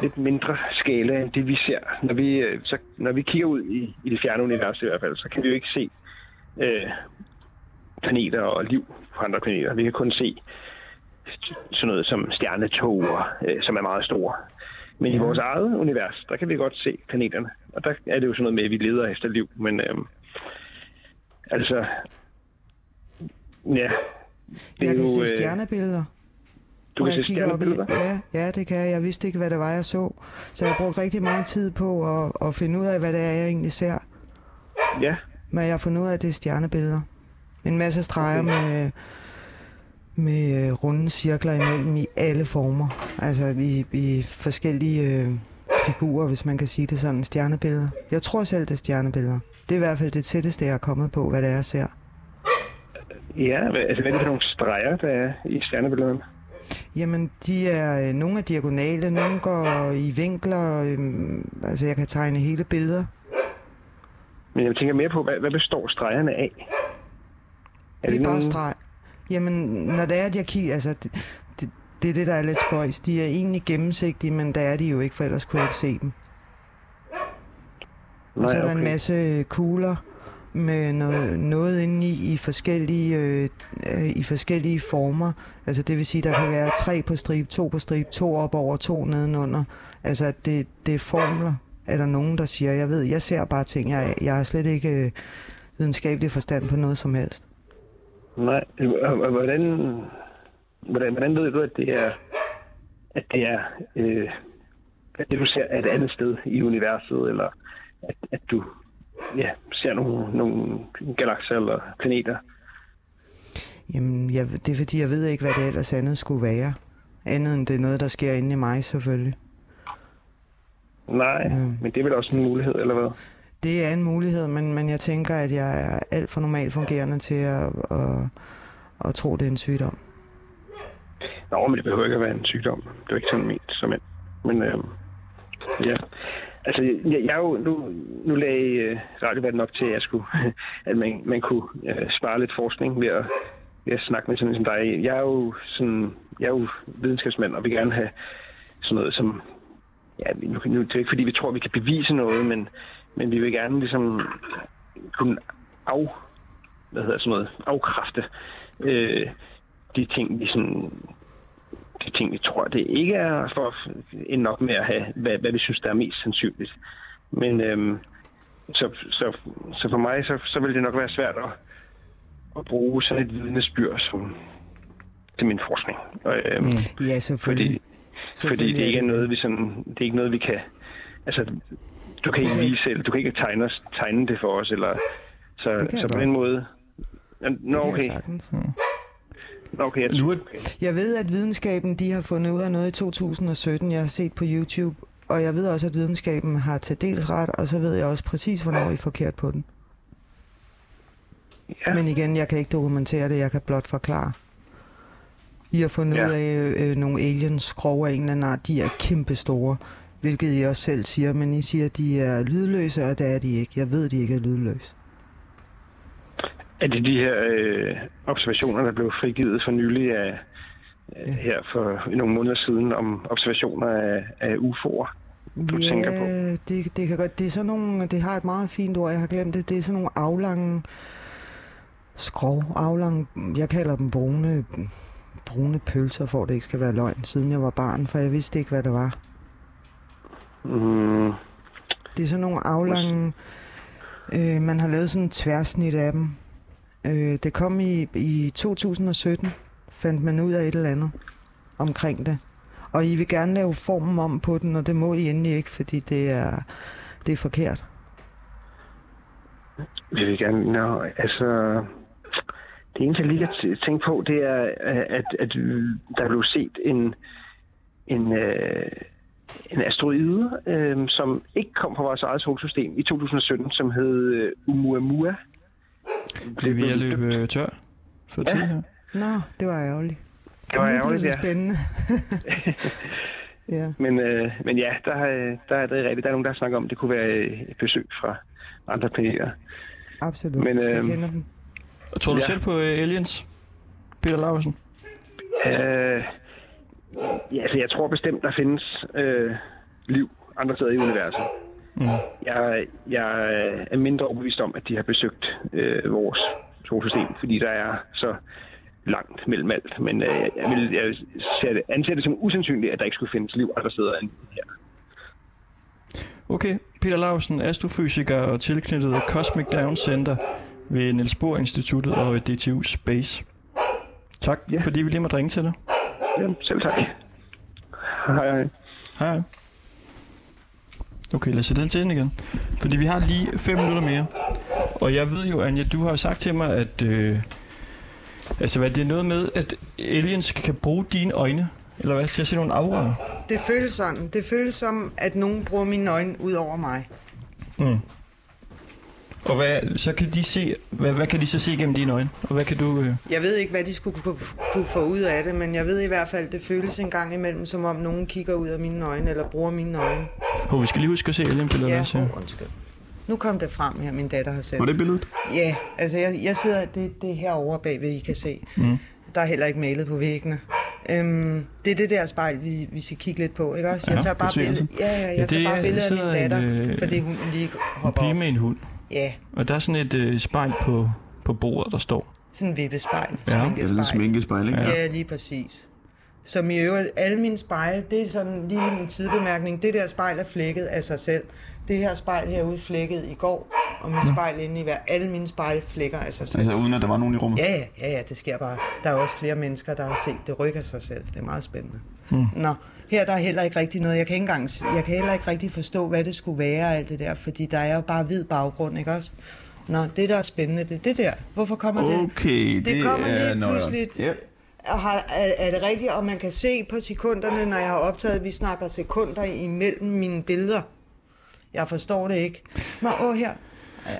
lidt mindre skala end det, vi ser. Når vi, øh, så, når vi kigger ud i, i det fjerne univers i hvert fald, så kan vi jo ikke se øh, planeter og liv på andre planeter. Vi kan kun se st- sådan noget som stjernetog, øh, som er meget store. Men ja. i vores eget univers, der kan vi godt se planeterne. Og der er det jo sådan noget med, at vi leder efter liv. Men øh, altså, ja. Det
Jeg
er
kan
jo,
se
øh,
stjernebilleder.
Du
Hvor
kan
jeg
se
kigger op i-
stjernebilleder?
Ja, ja, det kan jeg. Jeg vidste ikke, hvad det var, jeg så. Så jeg brugte rigtig meget tid på at, at finde ud af, hvad det er, jeg egentlig ser.
Ja,
Men jeg har fundet ud af, at det er stjernebilleder. En masse streger med, med øh, runde cirkler imellem i alle former. Altså i, i forskellige øh, figurer, hvis man kan sige det sådan. Stjernebilleder. Jeg tror selv, det er stjernebilleder. Det er i hvert fald det tætteste, jeg er kommet på, hvad det er, jeg ser.
ja hvad, altså hvad er det for nogle streger, der er i stjernebillederne?
Jamen, de er, øh, nogle er diagonale, nogle går i vinkler. Øhm, altså, jeg kan tegne hele billeder.
Men jeg tænker mere på, hvad, hvad består stregerne af? Er
det er bare
nogle-
streg. Jamen, når det er, at jeg kigger... Altså, det, det, det er det, der er lidt spøjs. De er egentlig gennemsigtige, men der er de jo ikke, for ellers kunne jeg ikke se dem.
Nej,
Og så er der
okay.
en masse øh, kugler med noget, noget indeni i forskellige, øh, øh, i forskellige former. Altså det vil sige, der kan være tre på stribe, to på stribe, to op over, to nedenunder. Altså at det, det er formler, er der nogen, der siger. Jeg ved, jeg ser bare ting. Jeg, jeg har slet ikke øh, videnskabelig forstand på noget som helst.
Nej, og- og hvordan, hvordan, hvordan ved du, at det er, at det er, øh, at det du ser er et andet sted i universet, eller at, at du ja, ser nogle, nogle galakser eller planeter?
Jamen, jeg, det er fordi, jeg ved ikke, hvad det ellers andet skulle være. Andet end det er noget, der sker inde i mig selvfølgelig.
Nej,
Mm.
men det er vel også en mulighed, eller hvad?
Det er en mulighed, men, men jeg tænker, at jeg er alt for normalt fungerende til at, at, at tro, det er en sygdom.
Nå, men det behøver ikke at være en sygdom. Det var ikke sådan ment som en. Men øh, ja, altså jeg, jeg er jo, nu, nu lagde øh, radioverden op til, at, jeg skulle, at man, man kunne øh, spare lidt forskning ved at, ved at snakke med sådan en som dig. Jeg er jo, sådan, jeg er jo videnskabsmand og vil gerne have sådan noget som... Ja, nu, nu det er det ikke, fordi vi tror, vi kan bevise noget, men, men vi vil gerne ligesom kunne af, hvad hedder sådan noget, afkræfte øh, de ting, vi sådan de ting, vi tror, det ikke er for at ende op med at have, hvad, hvad vi synes, der er mest sandsynligt. Men øhm, så, så, så for mig, så, så vil det nok være svært at, at bruge sådan et vidnesbyr som, til min forskning. Og, øhm, mm.
Ja,
Fordi,
selvfølgelig.
fordi
Selvfølgelig
det
er
ikke er
det.
noget, vi sådan, det er ikke noget, vi kan... Altså, du kan ikke
Okay.
vise selv, du kan ikke tegne, os, tegne det for os, eller... Så,
Det kan jeg
så på
godt.
den måde... Jamen, Nå,
Det kan jeg
okay.
sagtens.
Nå, okay, jeg,
Nu er,
Jeg ved, at videnskaben de har fundet ud af noget i 2017, jeg har set på YouTube. Og jeg ved også, at videnskaben har til dels ret, og så ved jeg også præcis, hvornår I er forkert på den.
Ja.
Men igen, jeg kan ikke dokumentere det, jeg kan blot forklare. I har fundet
Ja.
ud af øh, nogle aliens skrog af en eller anden art, de er kæmpe store, hvilket I også selv siger, men I siger, at de er lydløse, og det er de ikke. Jeg ved, de ikke er lydløse.
Er det de her øh, observationer, der blev frigivet for nylig af, ja. her for nogle måneder siden, om observationer af, af UFO'er? du tænker på?
Det, det kan godt. Det er sådan nogle, det har et meget fint ord, jeg har glemt det. Det er sådan nogle aflange skrov, aflange, jeg kalder dem brune, brune pølser, for at det ikke skal være løgn, siden jeg var barn, for jeg vidste ikke, hvad det var.
Mm,
Det er sådan nogle aflange... Øh, man har lavet sådan en tværsnit af dem. Øh, det kom i, i 2017, fandt man ud af et eller andet omkring det. Og I vil gerne lave formen om på den, og det må I endelig ikke, fordi det er, det er forkert.
vi vil gerne... Nå, altså... Det eneste, jeg lige kan t- tænke på, det er, øh, at, at der blev set en, en, øh, en asteroide, øh, som ikke kom fra vores eget solsystem i 2017, som hed øh, Oumuamua.
blev vi at løbe øh, tør for tid her?
Nå, det var ærgerligt.
Det var
Nu blev
ærgerligt,
det
ja.
spændende. ja.
Men, øh, men ja, der, øh, der er det rigtigt. Der er nogen, der snakker om, at det kunne være øh, et besøg fra andre planeter.
Absolut.
Men,
Men, øh... Jeg
øhm,
kender dem.
Tror du
Ja.
ja. selv på øh, aliens, Peter Larsen?
Øh, ja, altså, jeg tror bestemt, der findes øh, liv andre steder i universet.
Mm.
Jeg, jeg er mindre overbevist om, at de har besøgt øh, vores solsystem, fordi der er så langt mellem alt. Men øh, jeg, vil, jeg ser det, anser det som usandsynligt, at der ikke skulle findes liv andre steder end her.
Okay, Peter Larsen, astrofysiker og tilknyttet Cosmic Down Center ved Niels Bohr Instituttet og DTU Space. Tak,
Ja.
ja. fordi vi lige måtte ringe til dig.
Ja, selv tak. Hej, hej.
Hej. hej. Okay, lad os sætte den til den igen. Fordi vi har lige 5 minutter mere. Og jeg ved jo, Anja, du har jo sagt til mig, at... Øh, altså, hvad, det er noget med, at aliens kan bruge dine øjne, eller hvad, til at se nogle afrører.
Det føles sådan. Det føles som, at nogen bruger mine øjne ud over mig.
Mm. Og hvad, så kan de se, hvad, hvad kan de så se gennem dine øjne? Og hvad kan du... Øh,
Jeg ved ikke, hvad de skulle kunne, kunne få ud af det, men jeg ved i hvert fald, det føles en gang imellem, som om nogen kigger ud af mine øjne, eller bruger mine øjne.
oh, vi skal lige huske at se alien-billeder.
Ja,
Ja.
oh, undskyld. Nu kom det frem her, min datter har sendt.
Var det billedet?
Ja, altså jeg, jeg sidder, det, det er herovre bagved, I kan se. Mm. Der er heller ikke malet på væggene. Øhm, det er det der spejl, vi, vi skal kigge lidt på, ikke også? Jeg
Ja,
tager bare
det ser jeg
billede, ja, ja, jeg
Ja,
tager
det
bare billeder af min
sidder en,
datter,
øh,
fordi hun lige
En
hopper
pige
op.
med en hund.
Ja,
Og der er sådan et øh, spejl på, på bordet, der står.
sådan en vippespejl,
Ja,
ja,
Jeg ved,
sminkespejl.
en sminkespejl, ikke?
Ja, lige præcis. Som i øvrigt, alle mine spejle, det er sådan lige en tidbemærkning, det der spejl er flækket af sig selv. Det her spejl herude flækket i går, og mit spejl inde i hver, alle mine spejle flækker af sig selv.
Altså, uden at der var nogen i rummet.
Ja, ja, ja, ja, det sker bare. Der er også flere mennesker, der har set det rykker sig selv. Det er meget spændende. Mm. Nå, her der er heller ikke rigtig noget. Jeg kan, ikke engang, s- jeg kan heller ikke rigtig forstå, hvad det skulle være og alt det der, fordi der er jo bare hvid baggrund, ikke også? Nå, det der er spændende, det er det der. Hvorfor kommer det?
Okay, det,
det kommer
er...
lige
nøjere.
pludseligt.
Ja.
Og har, er, er det rigtigt, og man kan se på sekunderne, når jeg har optaget, at vi snakker sekunder imellem mine billeder. Jeg forstår det ikke. Nå, åh, her.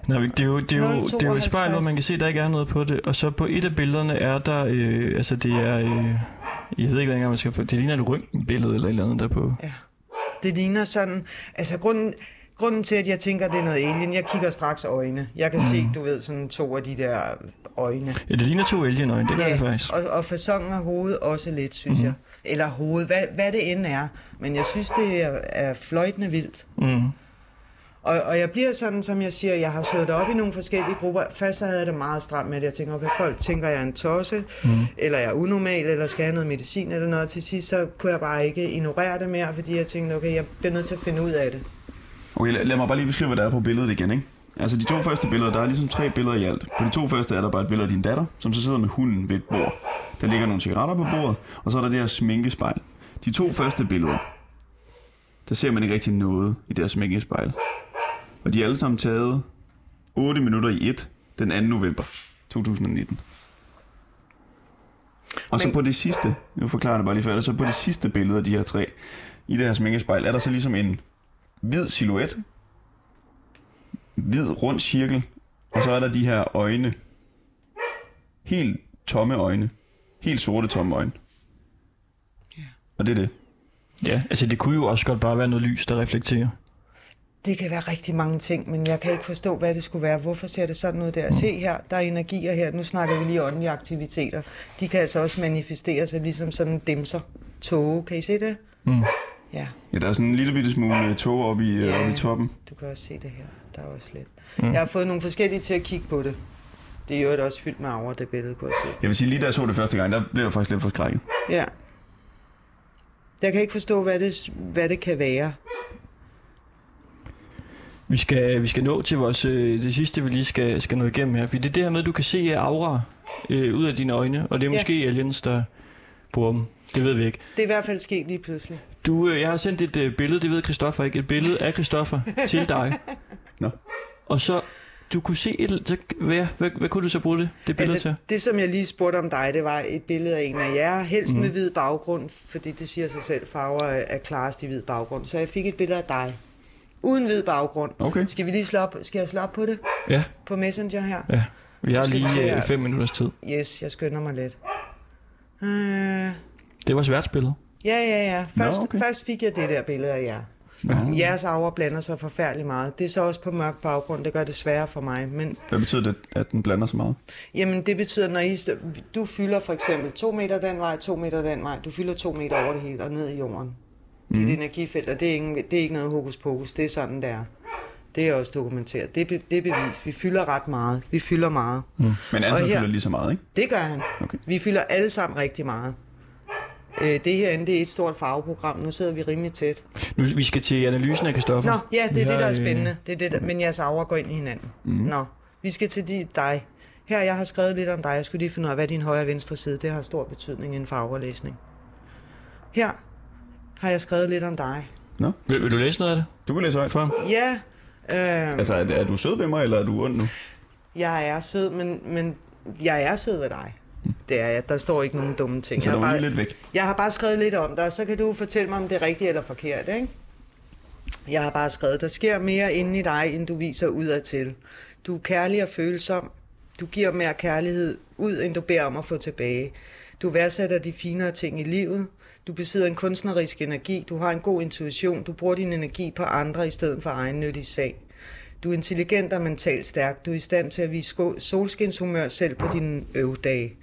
Nej, men det er jo, det er jo, det er jo et
0,52.
spejl, hvor man kan se, at der ikke er noget på det. Og så på et af billederne er der, øh, altså det er, øh, jeg ved ikke, hvordan man skal få, det ligner et røntgenbillede eller et eller andet der på.
Det ligner sådan, altså grunden, grunden til, at jeg tænker, at det er noget alien, jeg kigger straks øjne. Jeg kan se, du ved, sådan to af de der øjne.
Ja, det ligner to alienøjne, det gør det faktisk.
og, og fasongen af hovedet også lidt, synes mm-hmm. jeg. Eller hovedet, hvad, hvad det end er. Men jeg synes, det er, er fløjtende vildt.
Mm.
Og, og jeg bliver sådan, som jeg siger, jeg har slået det op i nogle forskellige grupper. Først så havde jeg det meget stramt med, at jeg tænkte, okay, folk tænker, jeg er en tosse, mm. eller jeg er unormal, eller skal have noget medicin eller noget. Til sidst, så kunne jeg bare ikke ignorere det mere, fordi jeg tænkte, okay, jeg bliver nødt til at finde ud af det.
Okay, lad, lad mig bare lige beskrive, hvad der er på billedet igen, ikke? Altså de to første billeder, der er ligesom tre billeder i alt. På de to første er der bare et billede af din datter, som så sidder med hunden ved et bord. Der ligger nogle cigaretter på bordet, og så er der det her sminkespejl. De to første billeder, der ser man ikke rigtig noget i deres sminkespejl. Og de er alle sammen taget 8 minutter i 1 den 2. november 2019. Og så
Men-
på det sidste, nu forklarer jeg det bare lige færdigt, så på det sidste billede af de her tre, i det her sminkespejl, er der så ligesom en hvid silhuet, hvid rund cirkel, og så er der de her øjne, helt tomme øjne, helt sorte tomme øjne. Og det er det.
Ja, altså det kunne jo også godt bare være noget lys, der reflekterer.
Det kan være rigtig mange ting, men jeg kan ikke forstå, hvad det skulle være. Hvorfor ser det sådan ud der? Se her, der er energier her. Nu snakker vi lige åndelige aktiviteter. De kan altså også manifestere sig ligesom sådan dimser. Tåge, kan I se det?
Mm.
Ja,
Ja, der er sådan en lille bitte smule tog oppe i,
Ja.
yeah. oppe i toppen.
du kan også se det her. Der er også lidt. Mm. Jeg har fået nogle forskellige til at kigge på det. Det er jo øvrigt også fyldt med over det billede, kunne jeg se.
Jeg vil sige, lige da jeg så det første gang, der blev jeg faktisk lidt forskrækket.
Ja. Jeg kan ikke forstå, hvad det, hvad det kan være.
Vi skal, vi skal nå til vores, øh, det sidste, vi lige skal, skal nå igennem her. Fordi det er det her med, at du kan se aura øh, ud af dine øjne, og det er
Ja.
måske aliens, der bruger dem. Det ved vi ikke.
Det er i hvert fald sket lige pludselig.
Du, øh, jeg har sendt et øh, billede, det ved Christoffer ikke, et billede af Christoffer til dig.
Nå.
Og så, du kunne se et, så, hvad, hvad, hvad kunne du så bruge det, det billede altså, til?
det, som jeg lige spurgte om dig, det var et billede af en af jer, helst mm. med hvid baggrund, fordi det siger sig selv, farver er er klarest i hvid baggrund. Så jeg fik et billede af dig, uden hvid baggrund.
Okay.
Skal vi lige slå op? Skal jeg slå op på det?
Ja,
På Messenger her?
ja. Vi har
Skal vi se
lige
her?
øh, fem minutters tid.
Yes, jeg skynder mig lidt. Øh,
Det var svært billede.
ja, ja, ja. Først,
Nå, okay.
okay. først fik jeg det der billede af jer.
Nå.
Jeres arver blander sig forfærdelig meget. Det er så også på mørk baggrund, det gør det sværere for mig. Men
Hvad betyder det, at den blander så meget?
Jamen, det betyder, når I, st- du fylder for eksempel 2 meter den vej, 2 meter den vej, du fylder 2 meter over det hele og ned i jorden. Mm. Dit energifelt, og det er, ikke, det er ikke noget hokus pokus, det er sådan, det er. Det er også dokumenteret. Det er, be- det er bevist. Vi fylder ret meget. Vi fylder meget. Mm.
Men Anton
Og her-
fylder lige så meget, ikke?
Det gør han.
Okay.
Vi fylder alle sammen rigtig meget. Øh, det herinde, det er et stort farveprogram. Nu sidder vi rimelig tæt.
Nu, vi skal til analysen af Christoffer.
Nå, ja, det
Vi
er det,
har,
der er
øh,
spændende. Det er det, der, men jeres arver går ind i hinanden. Mm. Nå, vi skal til de, dig. Her, jeg har skrevet lidt om dig. Jeg skulle lige finde ud af, hvad din højre og venstre side, det har stor betydning inden for arverlæsning. Her har jeg skrevet lidt om dig.
Vil, vil du læse noget af det?
Du kan læse højt.
Fra?
Ja, øh,
Altså, er, er du sød ved mig, eller er du ond nu?
jeg er sød, men, men jeg er sød ved dig. Det er jeg. Der står ikke nogen dumme ting.
Så Altså, er du
jeg, har
lige
bare,
lidt væk.
jeg har bare skrevet lidt om dig, og så kan du fortælle mig, om det er rigtigt eller forkert, ikke? Jeg har bare skrevet, der sker mere inde i dig, end du viser udadtil. Du er kærlig og følsom. Du giver mere kærlighed ud, end du beder om at få tilbage. Du værdsætter de finere ting i livet. Du besidder en kunstnerisk energi. Du har en god intuition. Du bruger din energi på andre i stedet for egennyttig sag. Du er intelligent og mentalt stærk. Du er i stand til at vise sko- solskinshumør selv på dine øvdage.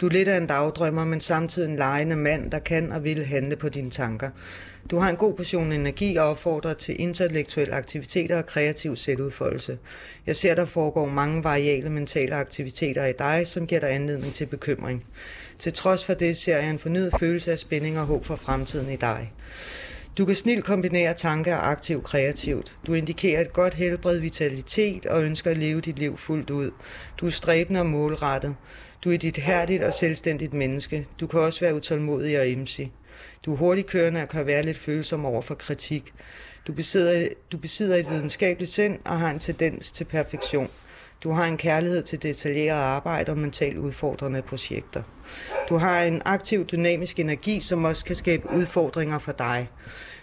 Du er lidt af en dagdrømmer, men samtidig en lejende mand, der kan og vil handle på dine tanker. Du har en god portion energi og opfordrer til intellektuelle aktiviteter og kreativ selvudfoldelse. Jeg ser, der foregår mange variable mentale aktiviteter i dig, som giver dig anledning til bekymring. Til trods for det ser jeg en fornyet følelse af spænding og håb for fremtiden i dig. Du kan snilt kombinere tanke og aktiv kreativt. Du indikerer et godt helbred, vitalitet og ønsker at leve dit liv fuldt ud. Du er stræbende og målrettet. Du er dit hærdigt og selvstændigt menneske. Du kan også være utålmodig og emsig. Du er hurtigkørende og kan være lidt følsom over for kritik. Du besidder, du besidder et videnskabeligt sind og har en tendens til perfektion. Du har en kærlighed til detaljeret arbejde og mentalt udfordrende projekter. Du har en aktiv, dynamisk energi, som også kan skabe udfordringer for dig.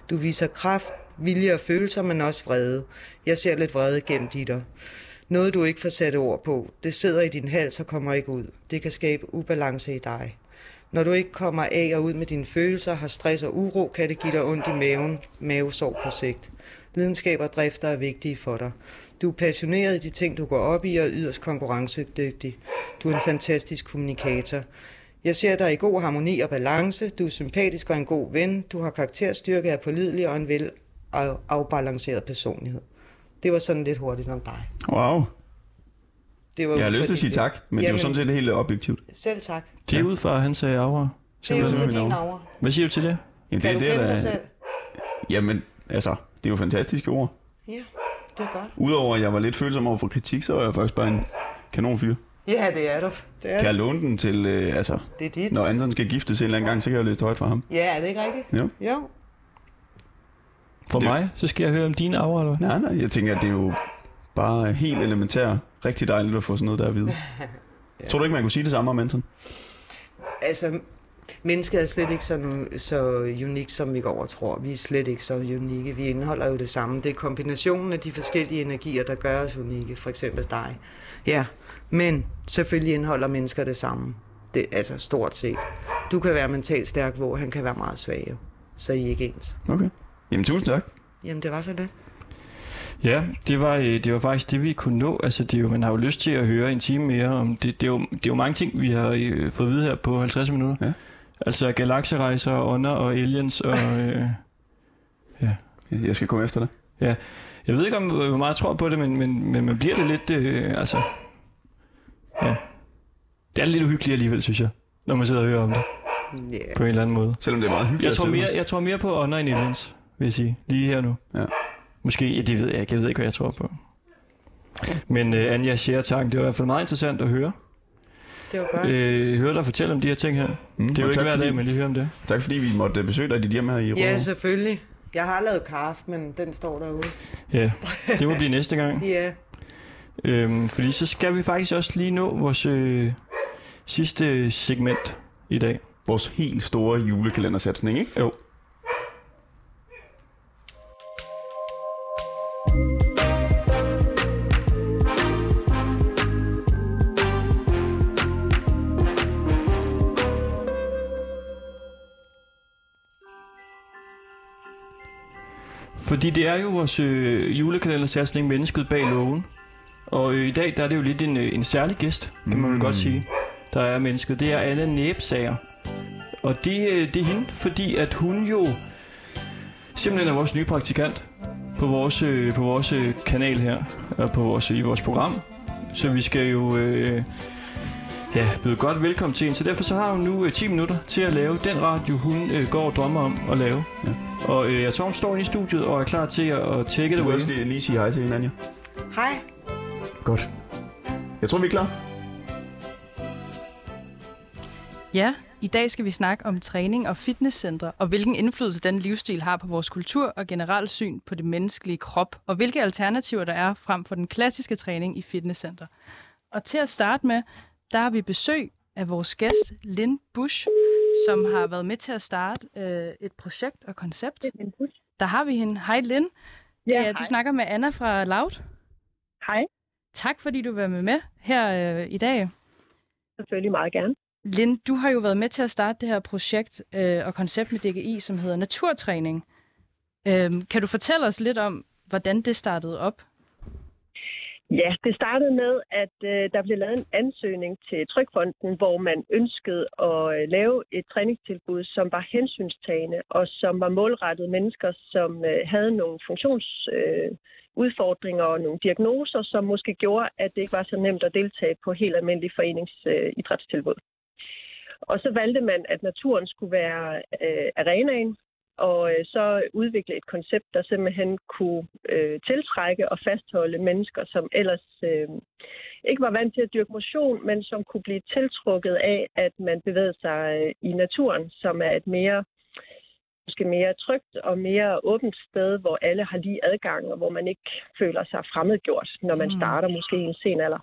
Du viser kraft, vilje og følelser, men også vrede. Jeg ser lidt vrede gennem dit dig. Noget, du ikke får sat ord på. Det sidder i din hals og kommer ikke ud. Det kan skabe ubalance i dig. Når du ikke kommer af og ud med dine følelser, har stress og uro, kan det give dig ondt i maven, mavesår på sigt. Lidenskab og drifter er vigtige for dig. Du er passioneret i de ting, du går op i, og yderst konkurrencedygtig. Du er en fantastisk kommunikator. Jeg ser dig i god harmoni og balance. Du er sympatisk og en god ven. Du har karakterstyrke, er pålidelig og en vel af- afbalanceret personlighed. Det var sådan lidt hurtigt om dig.
Wow.
Det var
Jeg har
ud fra
lyst til at sige
dit-
tak, men Jamen. det er jo
Jamen.
sådan set helt objektivt.
Selv tak.
Det er ud fra hans øh, aura.
Det er jo
Simpelthen
for
min
din
aura.
aura.
Hvad siger du til det?
Jamen,
Kan du
det,
kende dig
der,
selv?
jamen, altså, det er jo fantastiske ord.
Ja, det er godt.
Udover at jeg var lidt følsom over for kritik, så var jeg faktisk bare en kanon fyr.
Ja, det er du. Det er,
Kan
du.
jeg låne den til, øh, altså,
det er dit.
når Anton skal giftes en eller anden gang, så kan jeg jo læse det højt for ham.
Ja, er det ikke rigtigt?
Jo.
Jo.
For
Det-
mig? Så skal jeg høre om dine aura, eller hvad?
Nej, nej, jeg tænker, at det er jo bare helt elementært rigtig dejligt at få sådan noget der at vide. ja. Tror du ikke, man kunne sige det samme om Anton?
Altså, mennesket er slet ikke så, så unik, som vi går og tror. Vi er slet ikke så unikke. Vi indeholder jo det samme. Det er kombinationen af de forskellige energier, der gør os unikke. For eksempel dig. Ja, men selvfølgelig indeholder mennesker det samme. Det, altså stort set. Du kan være mentalt stærk, hvor han kan være meget svag. jo. Så I er ikke ens.
Okay. Jamen, tusind tak.
Jamen, det var så lidt.
Ja, det var, øh, det var faktisk det, vi kunne nå. Altså, det er jo, man har jo lyst til at høre en time mere om det. Det er jo, det er jo mange ting, vi har øh, fået at vide her på 50 minutter.
Ja.
Altså galakserejser, ånder og aliens. Og, øh,
Jeg skal komme efter dig.
jeg ved ikke, om hvor meget jeg tror på det, men, men, men man bliver det lidt... Øh, altså, ja. Det er lidt uhyggeligt alligevel, synes jeg, når man sidder og hører om det
Ja.
på en eller anden måde.
Selvom det er meget hyggeligt.
Jeg
at
tror,
sidde
mere, jeg tror mere på ånder end aliens, vil jeg sige. Lige her nu.
Ja.
Måske, ja, det ved jeg ikke. Jeg ved ikke, hvad jeg tror på. Men uh, Anja Schertang, det var i hvert fald meget interessant at høre.
Det var godt.
Øh, høre dig fortælle om de her ting her. Det
med. Mm,
er jo
og
ikke
tak,
hver
fordi,
dag, man lige hører om det.
Tak fordi vi måtte øh, besøge dig i dit hjem her i
Ja,
Rødovre.
selvfølgelig. Jeg har lavet kaffe, men den står derude.
Ja, det må blive næste gang.
Ja,
Øhm, fordi så skal vi faktisk også lige nå vores øh, sidste segment i dag.
Vores helt store julekalendersatsning, ikke?
Jo. Fordi det er jo vores øh, julekalendersatsning Mennesket bag lågen. Og øh, i dag der er det jo lidt en, øh, en særlig gæst, kan man vel
Mm.
godt sige, der er mennesket. Det er Anna Næbsager. Og det, øh, det er hende, fordi at hun jo simpelthen er vores nye praktikant på vores, øh, på vores øh, kanal her, og på vores, øh, i vores program. Så vi skal jo øh, ja, byde godt velkommen til hende. Så derfor så har hun nu øh, 10 minutter til at lave den radio, hun øh, går og drømmer om at lave.
Ja.
Og øh, jeg tror, hun står inde i studiet og er klar til at, at tjekke
Du
det.
kan også lige, lige sige hej til hinanden, ja.
hej.
Godt. Jeg tror, vi er klar.
Ja, i dag skal vi snakke om træning og fitnesscentre, og hvilken indflydelse den livsstil har på vores kultur og generelt syn på det menneskelige krop, og hvilke alternativer der er frem for den klassiske træning i fitnesscenter. Og til at starte med, der har vi besøg af vores gæst, Lynn Bush, som har været med til at starte øh, et projekt og koncept. Der har vi hende. Hej Lynn. Det
Ja,
er, du
hej.
snakker med Anna fra Loud.
Hej,
Tak fordi du var med, med her øh, i dag.
selvfølgelig meget gerne.
Lind, du har jo været med til at starte det her projekt øh, og koncept med DGI, som hedder Naturtræning. Øhm, kan du fortælle os lidt om, hvordan det startede op?
Ja, det startede med, at øh, der blev lavet en ansøgning til Trykfonden, hvor man ønskede at øh, lave et træningstilbud, som var hensynstagende og som var målrettet mennesker, som øh, havde nogle funktionsudfordringer øh, udfordringer og nogle diagnoser, som måske gjorde, at det ikke var så nemt at deltage på helt almindelige øh, foreningsidrætstilbud. og så valgte man, at naturen skulle være øh, arenaen, og øh, så udvikle et koncept, der simpelthen kunne øh, tiltrække og fastholde mennesker, som ellers øh, ikke var vant til at dyrke motion, men som kunne blive tiltrukket af, at man bevægede sig øh, i naturen, som er et mere måske mere trygt og mere åbent sted, hvor alle har lige adgang, og hvor man ikke føler sig fremmedgjort, når man
Mm.
starter måske i en sen alder.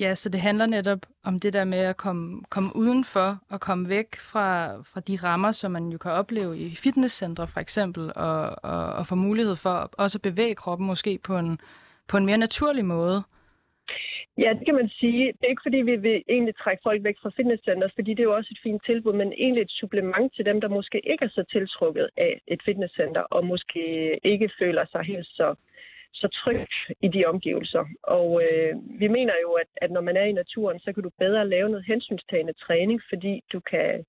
Ja, så det handler netop om det der med at komme, komme udenfor og komme væk fra, fra de rammer, som man jo kan opleve i fitnesscentre for eksempel, og, og, og få mulighed for at- også at bevæge kroppen måske på en, på en mere naturlig måde.
Ja, det kan man sige. Det er ikke fordi, vi vil egentlig trække folk væk fra fitnesscenter, fordi det er jo også et fint tilbud, men egentlig et supplement til dem, der måske ikke er så tiltrukket af et fitnesscenter, og måske ikke føler sig helt så, så tryg i de omgivelser. Og øh, vi mener jo, at, at når man er i naturen, så kan du bedre lave noget hensynstagende træning, fordi du kan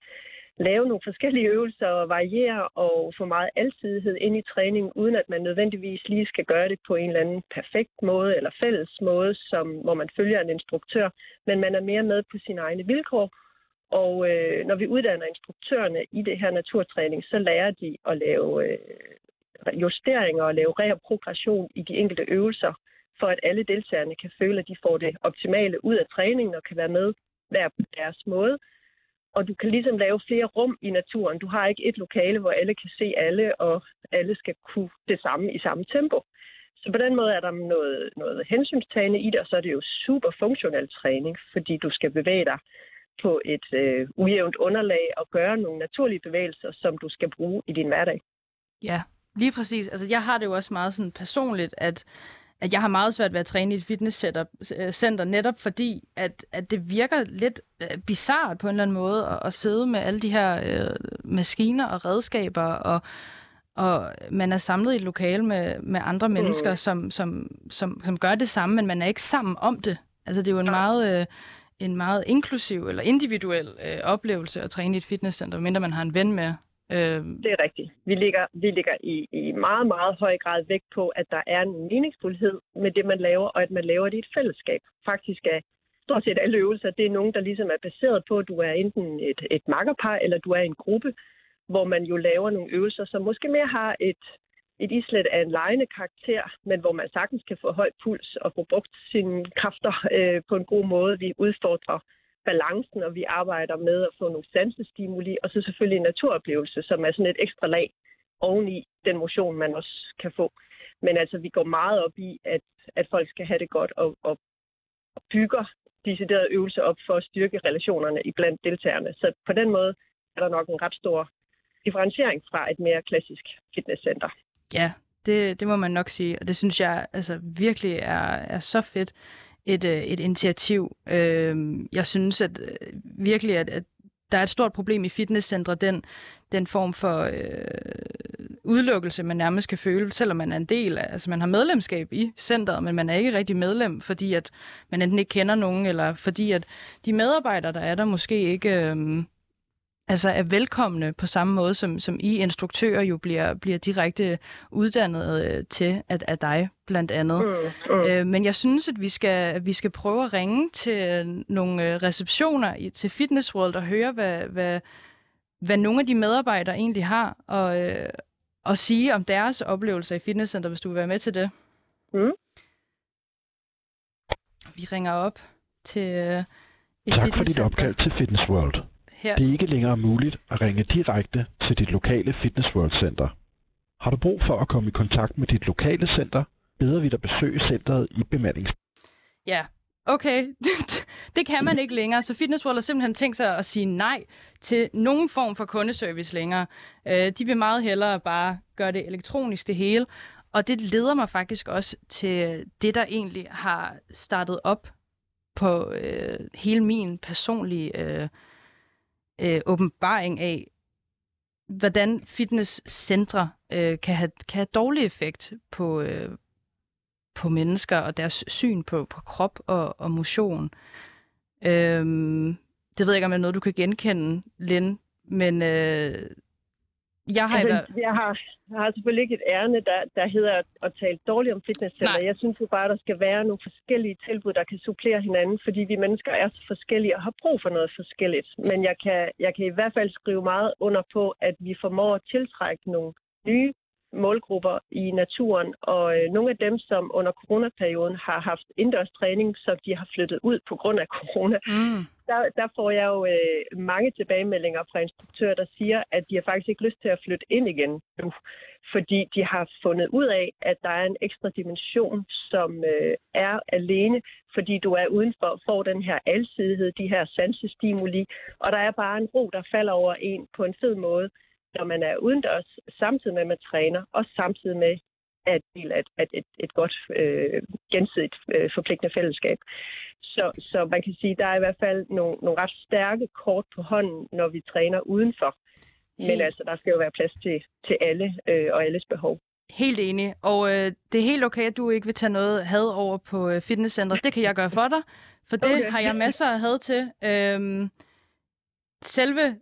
lave nogle forskellige øvelser og variere og få meget alsidighed ind i træningen, uden at man nødvendigvis lige skal gøre det på en eller anden perfekt måde eller fælles måde, som, hvor man følger en instruktør, men man er mere med på sine egne vilkår. Og øh, når vi uddanner instruktørerne i det her naturtræning, så lærer de at lave øh, justeringer og lave reprogression i de enkelte øvelser, for at alle deltagerne kan føle, at de får det optimale ud af træningen og kan være med hver på deres måde og du kan ligesom lave flere rum i naturen. Du har ikke et lokale, hvor alle kan se alle, og alle skal kunne det samme i samme tempo. Så på den måde er der noget, noget hensynstagende i det, og så er det jo super funktionel træning, fordi du skal bevæge dig på et øh, ujævnt underlag og gøre nogle naturlige bevægelser, som du skal bruge i din hverdag.
Ja, lige præcis. Altså, jeg har det jo også meget sådan personligt, at, at jeg har meget svært ved at træne i et fitnesscenter, netop fordi, at, at det virker lidt øh, bizart på en eller anden måde at, at sidde med alle de her øh, maskiner og redskaber, og, og man er samlet i et lokale med, med andre mennesker,
Mm.
som, som, som, som gør det samme, men man er ikke sammen om det. Altså, det er jo en meget... Øh, en meget inklusiv eller individuel øh, oplevelse at træne i et fitnesscenter, mindre man har en ven med. Øh,
Det er rigtigt. Vi ligger, vi ligger i, i meget, meget høj grad vægt på, at der er en meningsfuldhed med det, man laver, og at man laver det i et fællesskab. Faktisk er stort set alle øvelser, det er nogen, der ligesom er baseret på, at du er enten et, et makkerpar, eller du er i en gruppe, hvor man jo laver nogle øvelser, som måske mere har et, et islet af en lejende karakter, men hvor man sagtens kan få høj puls og få brugt sine kræfter øh, på en god måde. Vi udfordrer balancen, og vi arbejder med at få nogle sansestimuli, og så selvfølgelig en naturoplevelse, som er sådan et ekstra lag oveni den motion, man også kan få. Men altså, vi går meget op i, at, at folk skal have det godt, og, og bygger deciderede øvelser op for at styrke relationerne iblandt deltagerne. Så på den måde er der nok en ret stor differentiering fra et mere klassisk fitnesscenter.
Ja, det, det må man nok sige, og det synes jeg altså virkelig er, er så fedt et, øh, et initiativ. Øh, jeg synes at øh, virkelig, at, at der er et stort problem i fitnesscentre, den, den form for øh, udelukkelse, man nærmest kan føle, selvom man er en del af, altså man har medlemskab i centret, men man er ikke rigtig medlem, fordi at man enten ikke kender nogen, eller fordi at de medarbejdere, der er der, måske ikke... Øh, altså er velkomne på samme måde, som, som I instruktører jo bliver, bliver direkte uddannet øh, til at, af dig, blandt andet.
Mm, mm.
Øh, men jeg synes, at vi skal, at vi skal prøve at ringe til øh, nogle øh, receptioner i, til Fitness World og høre, hvad, hvad, hvad nogle af de medarbejdere egentlig har, og, øh, og sige om deres oplevelser i fitnesscenter, hvis du vil være med til det.
Mm.
Vi ringer op til øh, et
Tak for dit
fitnesscenter
opkald til Fitness World.
her.
Det er ikke længere muligt at ringe direkte til dit lokale Fitness World Center. Har du brug for at komme i kontakt med dit lokale center, beder vi dig besøge centret i bemandings.
Ja, okay. det kan man ikke længere. Så Fitness World har simpelthen tænkt sig at sige nej til nogen form for kundeservice længere. Øh, de vil meget hellere bare gøre det elektronisk det hele. Og det leder mig faktisk også til det, der egentlig har startet op på øh, hele min personlige øh, øh, åbenbaring af, hvordan fitnesscentre øh, kan, have, kan have dårlig effekt på, øh, på mennesker og deres syn på, på krop og, og motion. Øhm, det ved jeg ikke, om det er noget, du kan genkende, Lin, men øh, jeg har i hvert
Altså, jeg, har, jeg har selvfølgelig ikke et ærne, der, der hedder at, at tale dårligt om fitnesscenter.
Nej.
Jeg synes jo bare, at der skal være nogle forskellige tilbud, der kan supplere hinanden, fordi vi mennesker er så forskellige og har brug for noget forskelligt. Men jeg kan, jeg kan i hvert fald skrive meget under på, at vi formår at tiltrække nogle nye målgrupper i naturen, og øh, nogle af dem, som under coronaperioden har haft indendørs træning, som de har flyttet ud på grund af corona,
Mm.
der, der får jeg jo øh, mange tilbagemeldinger fra instruktører, der siger, at de har faktisk ikke lyst til at flytte ind igen nu, fordi de har fundet ud af, at der er en ekstra dimension, som øh, er alene, fordi du er udenfor og får den her alsidighed, de her sansestimuli, og der er bare en ro, der falder over en på en fed måde, når man er udendørs, samtidig med, at man træner, og samtidig med, at del af et, at et, et godt øh, gensidigt øh, forpligtende fællesskab. Så, så man kan sige, der er i hvert fald nogle, nogle ret stærke kort på hånden, når vi træner udenfor. Men
Helt.
altså, der skal jo være plads til, til alle øh, og alles behov.
Helt enig. Og øh, det er helt okay, at du ikke vil tage noget had over på øh, fitnesscenteret. Det kan jeg gøre for dig, for det okay.
Okay.
har jeg masser af had til. Øhm, selve,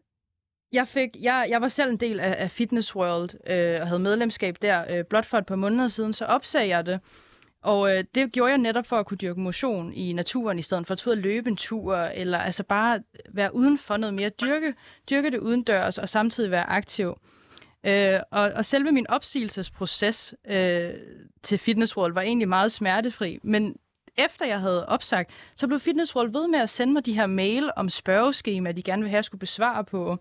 jeg fik, jeg, jeg var selv en del af, af Fitness World øh, og havde medlemskab der. Øh, blot for et par måneder siden, så opsagde jeg det. Og øh, det gjorde jeg netop for at kunne dyrke motion i naturen, i stedet for at tage ud og løbe en tur, eller altså bare være udenfor noget mere. Dyrke, dyrke det udendørs, og samtidig være aktiv. Øh, og, og selve min opsigelsesproces øh, til Fitness World var egentlig meget smertefri, men efter jeg havde opsagt, så blev Fitness World ved med at sende mig de her mail om spørgeskema, de gerne ville have, at jeg skulle besvare på,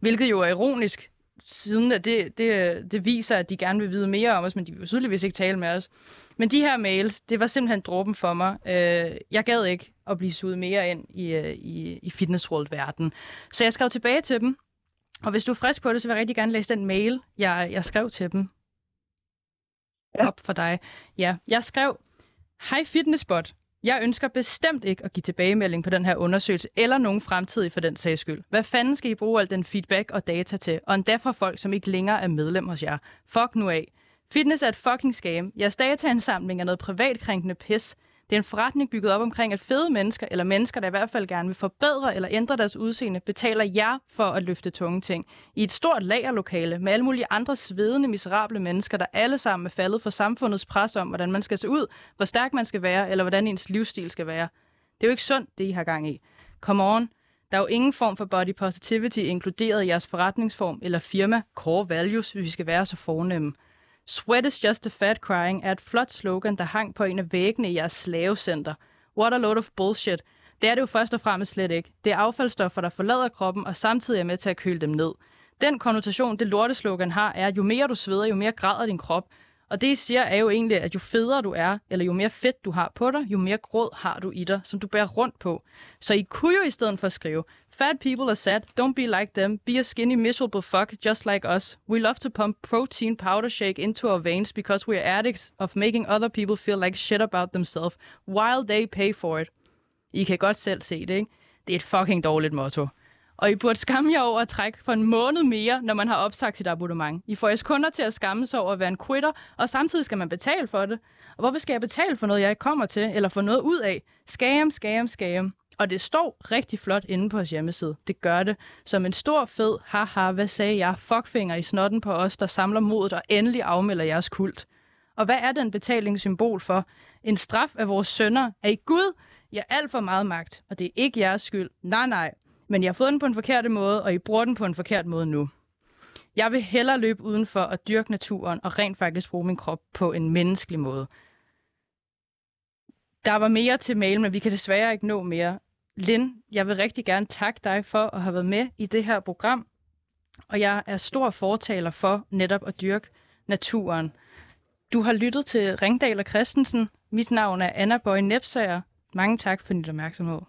hvilket jo er ironisk, siden at det, det, det viser, at de gerne vil vide mere om os, men de vil jo tydeligvis ikke tale med os. Men de her mails, det var simpelthen dråben for mig. Øh, jeg gad ikke at blive suget mere ind i, øh, i, i Fitness World-verden. Så jeg skrev tilbage til dem, og hvis du er frisk på det, så vil jeg rigtig gerne læse den mail, jeg, jeg skrev til dem. Ja.
Ja.
Op for dig. Ja, jeg skrev, Hej Fitnessbot. Jeg ønsker bestemt ikke at give tilbagemelding på den her undersøgelse, eller nogen fremtidig for den sags skyld. Hvad fanden skal I bruge al den feedback og data til, og endda fra folk, som ikke længere er medlem hos jer? Fuck nu af. Fitness er et fucking scam. Jeres dataansamling er noget privatkrænkende pis. Det er en forretning bygget op omkring, at fede mennesker, eller mennesker, der i hvert fald gerne vil forbedre eller ændre deres udseende, betaler jer for at løfte tunge ting. I et stort lagerlokale med alle mulige andre svedende, miserable mennesker, der alle sammen er faldet for samfundets pres om, hvordan man skal se ud, hvor stærk man skal være, eller hvordan ens livsstil skal være. Det er jo ikke sundt, det I har gang i. Come on. Der er jo ingen form for body positivity inkluderet i jeres forretningsform eller firma, core values, hvis vi skal være så fornemme. Sweat is just a fat crying er et flot slogan, der hang på en af væggene i jeres slavecenter. What a load of bullshit. Det er det jo først og fremmest slet ikke. Det er affaldsstoffer, der forlader kroppen og samtidig er med til at køle dem ned. Den konnotation, det lorteslogan har, er, at jo mere du sveder, jo mere græder din krop. Og det, I siger, er jo egentlig, at jo federe du er, eller jo mere fedt du har på dig, jo mere gråd har du i dig, som du bærer rundt på. Så I kunne jo i stedet for skrive, Fat people are sad. Don't be like them. Be a skinny, miserable fuck just like us. We love to pump protein powder shake into our veins because we are addicts of making other people feel like shit about themselves while they pay for it. I kan godt selv se det, ikke? Det er et fucking dårligt motto. Og I burde skamme jer over at trække for en måned mere, når man har opsagt sit abonnement. I får jeres kunder til at skamme sig over at være en quitter, og samtidig skal man betale for det. Og hvorfor skal jeg betale for noget, jeg ikke kommer til, eller få noget ud af? Skam, skam, skam. Og det står rigtig flot inde på vores hjemmeside. Det gør det. Som en stor, fed, haha, hvad sagde jeg, fuckfinger i snotten på os, der samler modet og endelig afmelder jeres kult. Og hvad er den betaling symbol for? En straf af vores sønner. Er I Gud? Jeg har alt for meget magt, og det er ikke jeres skyld. Nej, nej. Men jeg har fået den på en forkert måde, og I bruger den på en forkert måde nu. Jeg vil hellere løbe udenfor og dyrke naturen og rent faktisk bruge min krop på en menneskelig måde. Der var mere til mail, men vi kan desværre ikke nå mere. Lin, jeg vil rigtig gerne takke dig for at have været med i det her program. Og jeg er stor fortaler for netop at dyrke naturen. Du har lyttet til Ringdal og Christensen. Mit navn er Anna Bøje Nepsager. Mange tak for din opmærksomhed.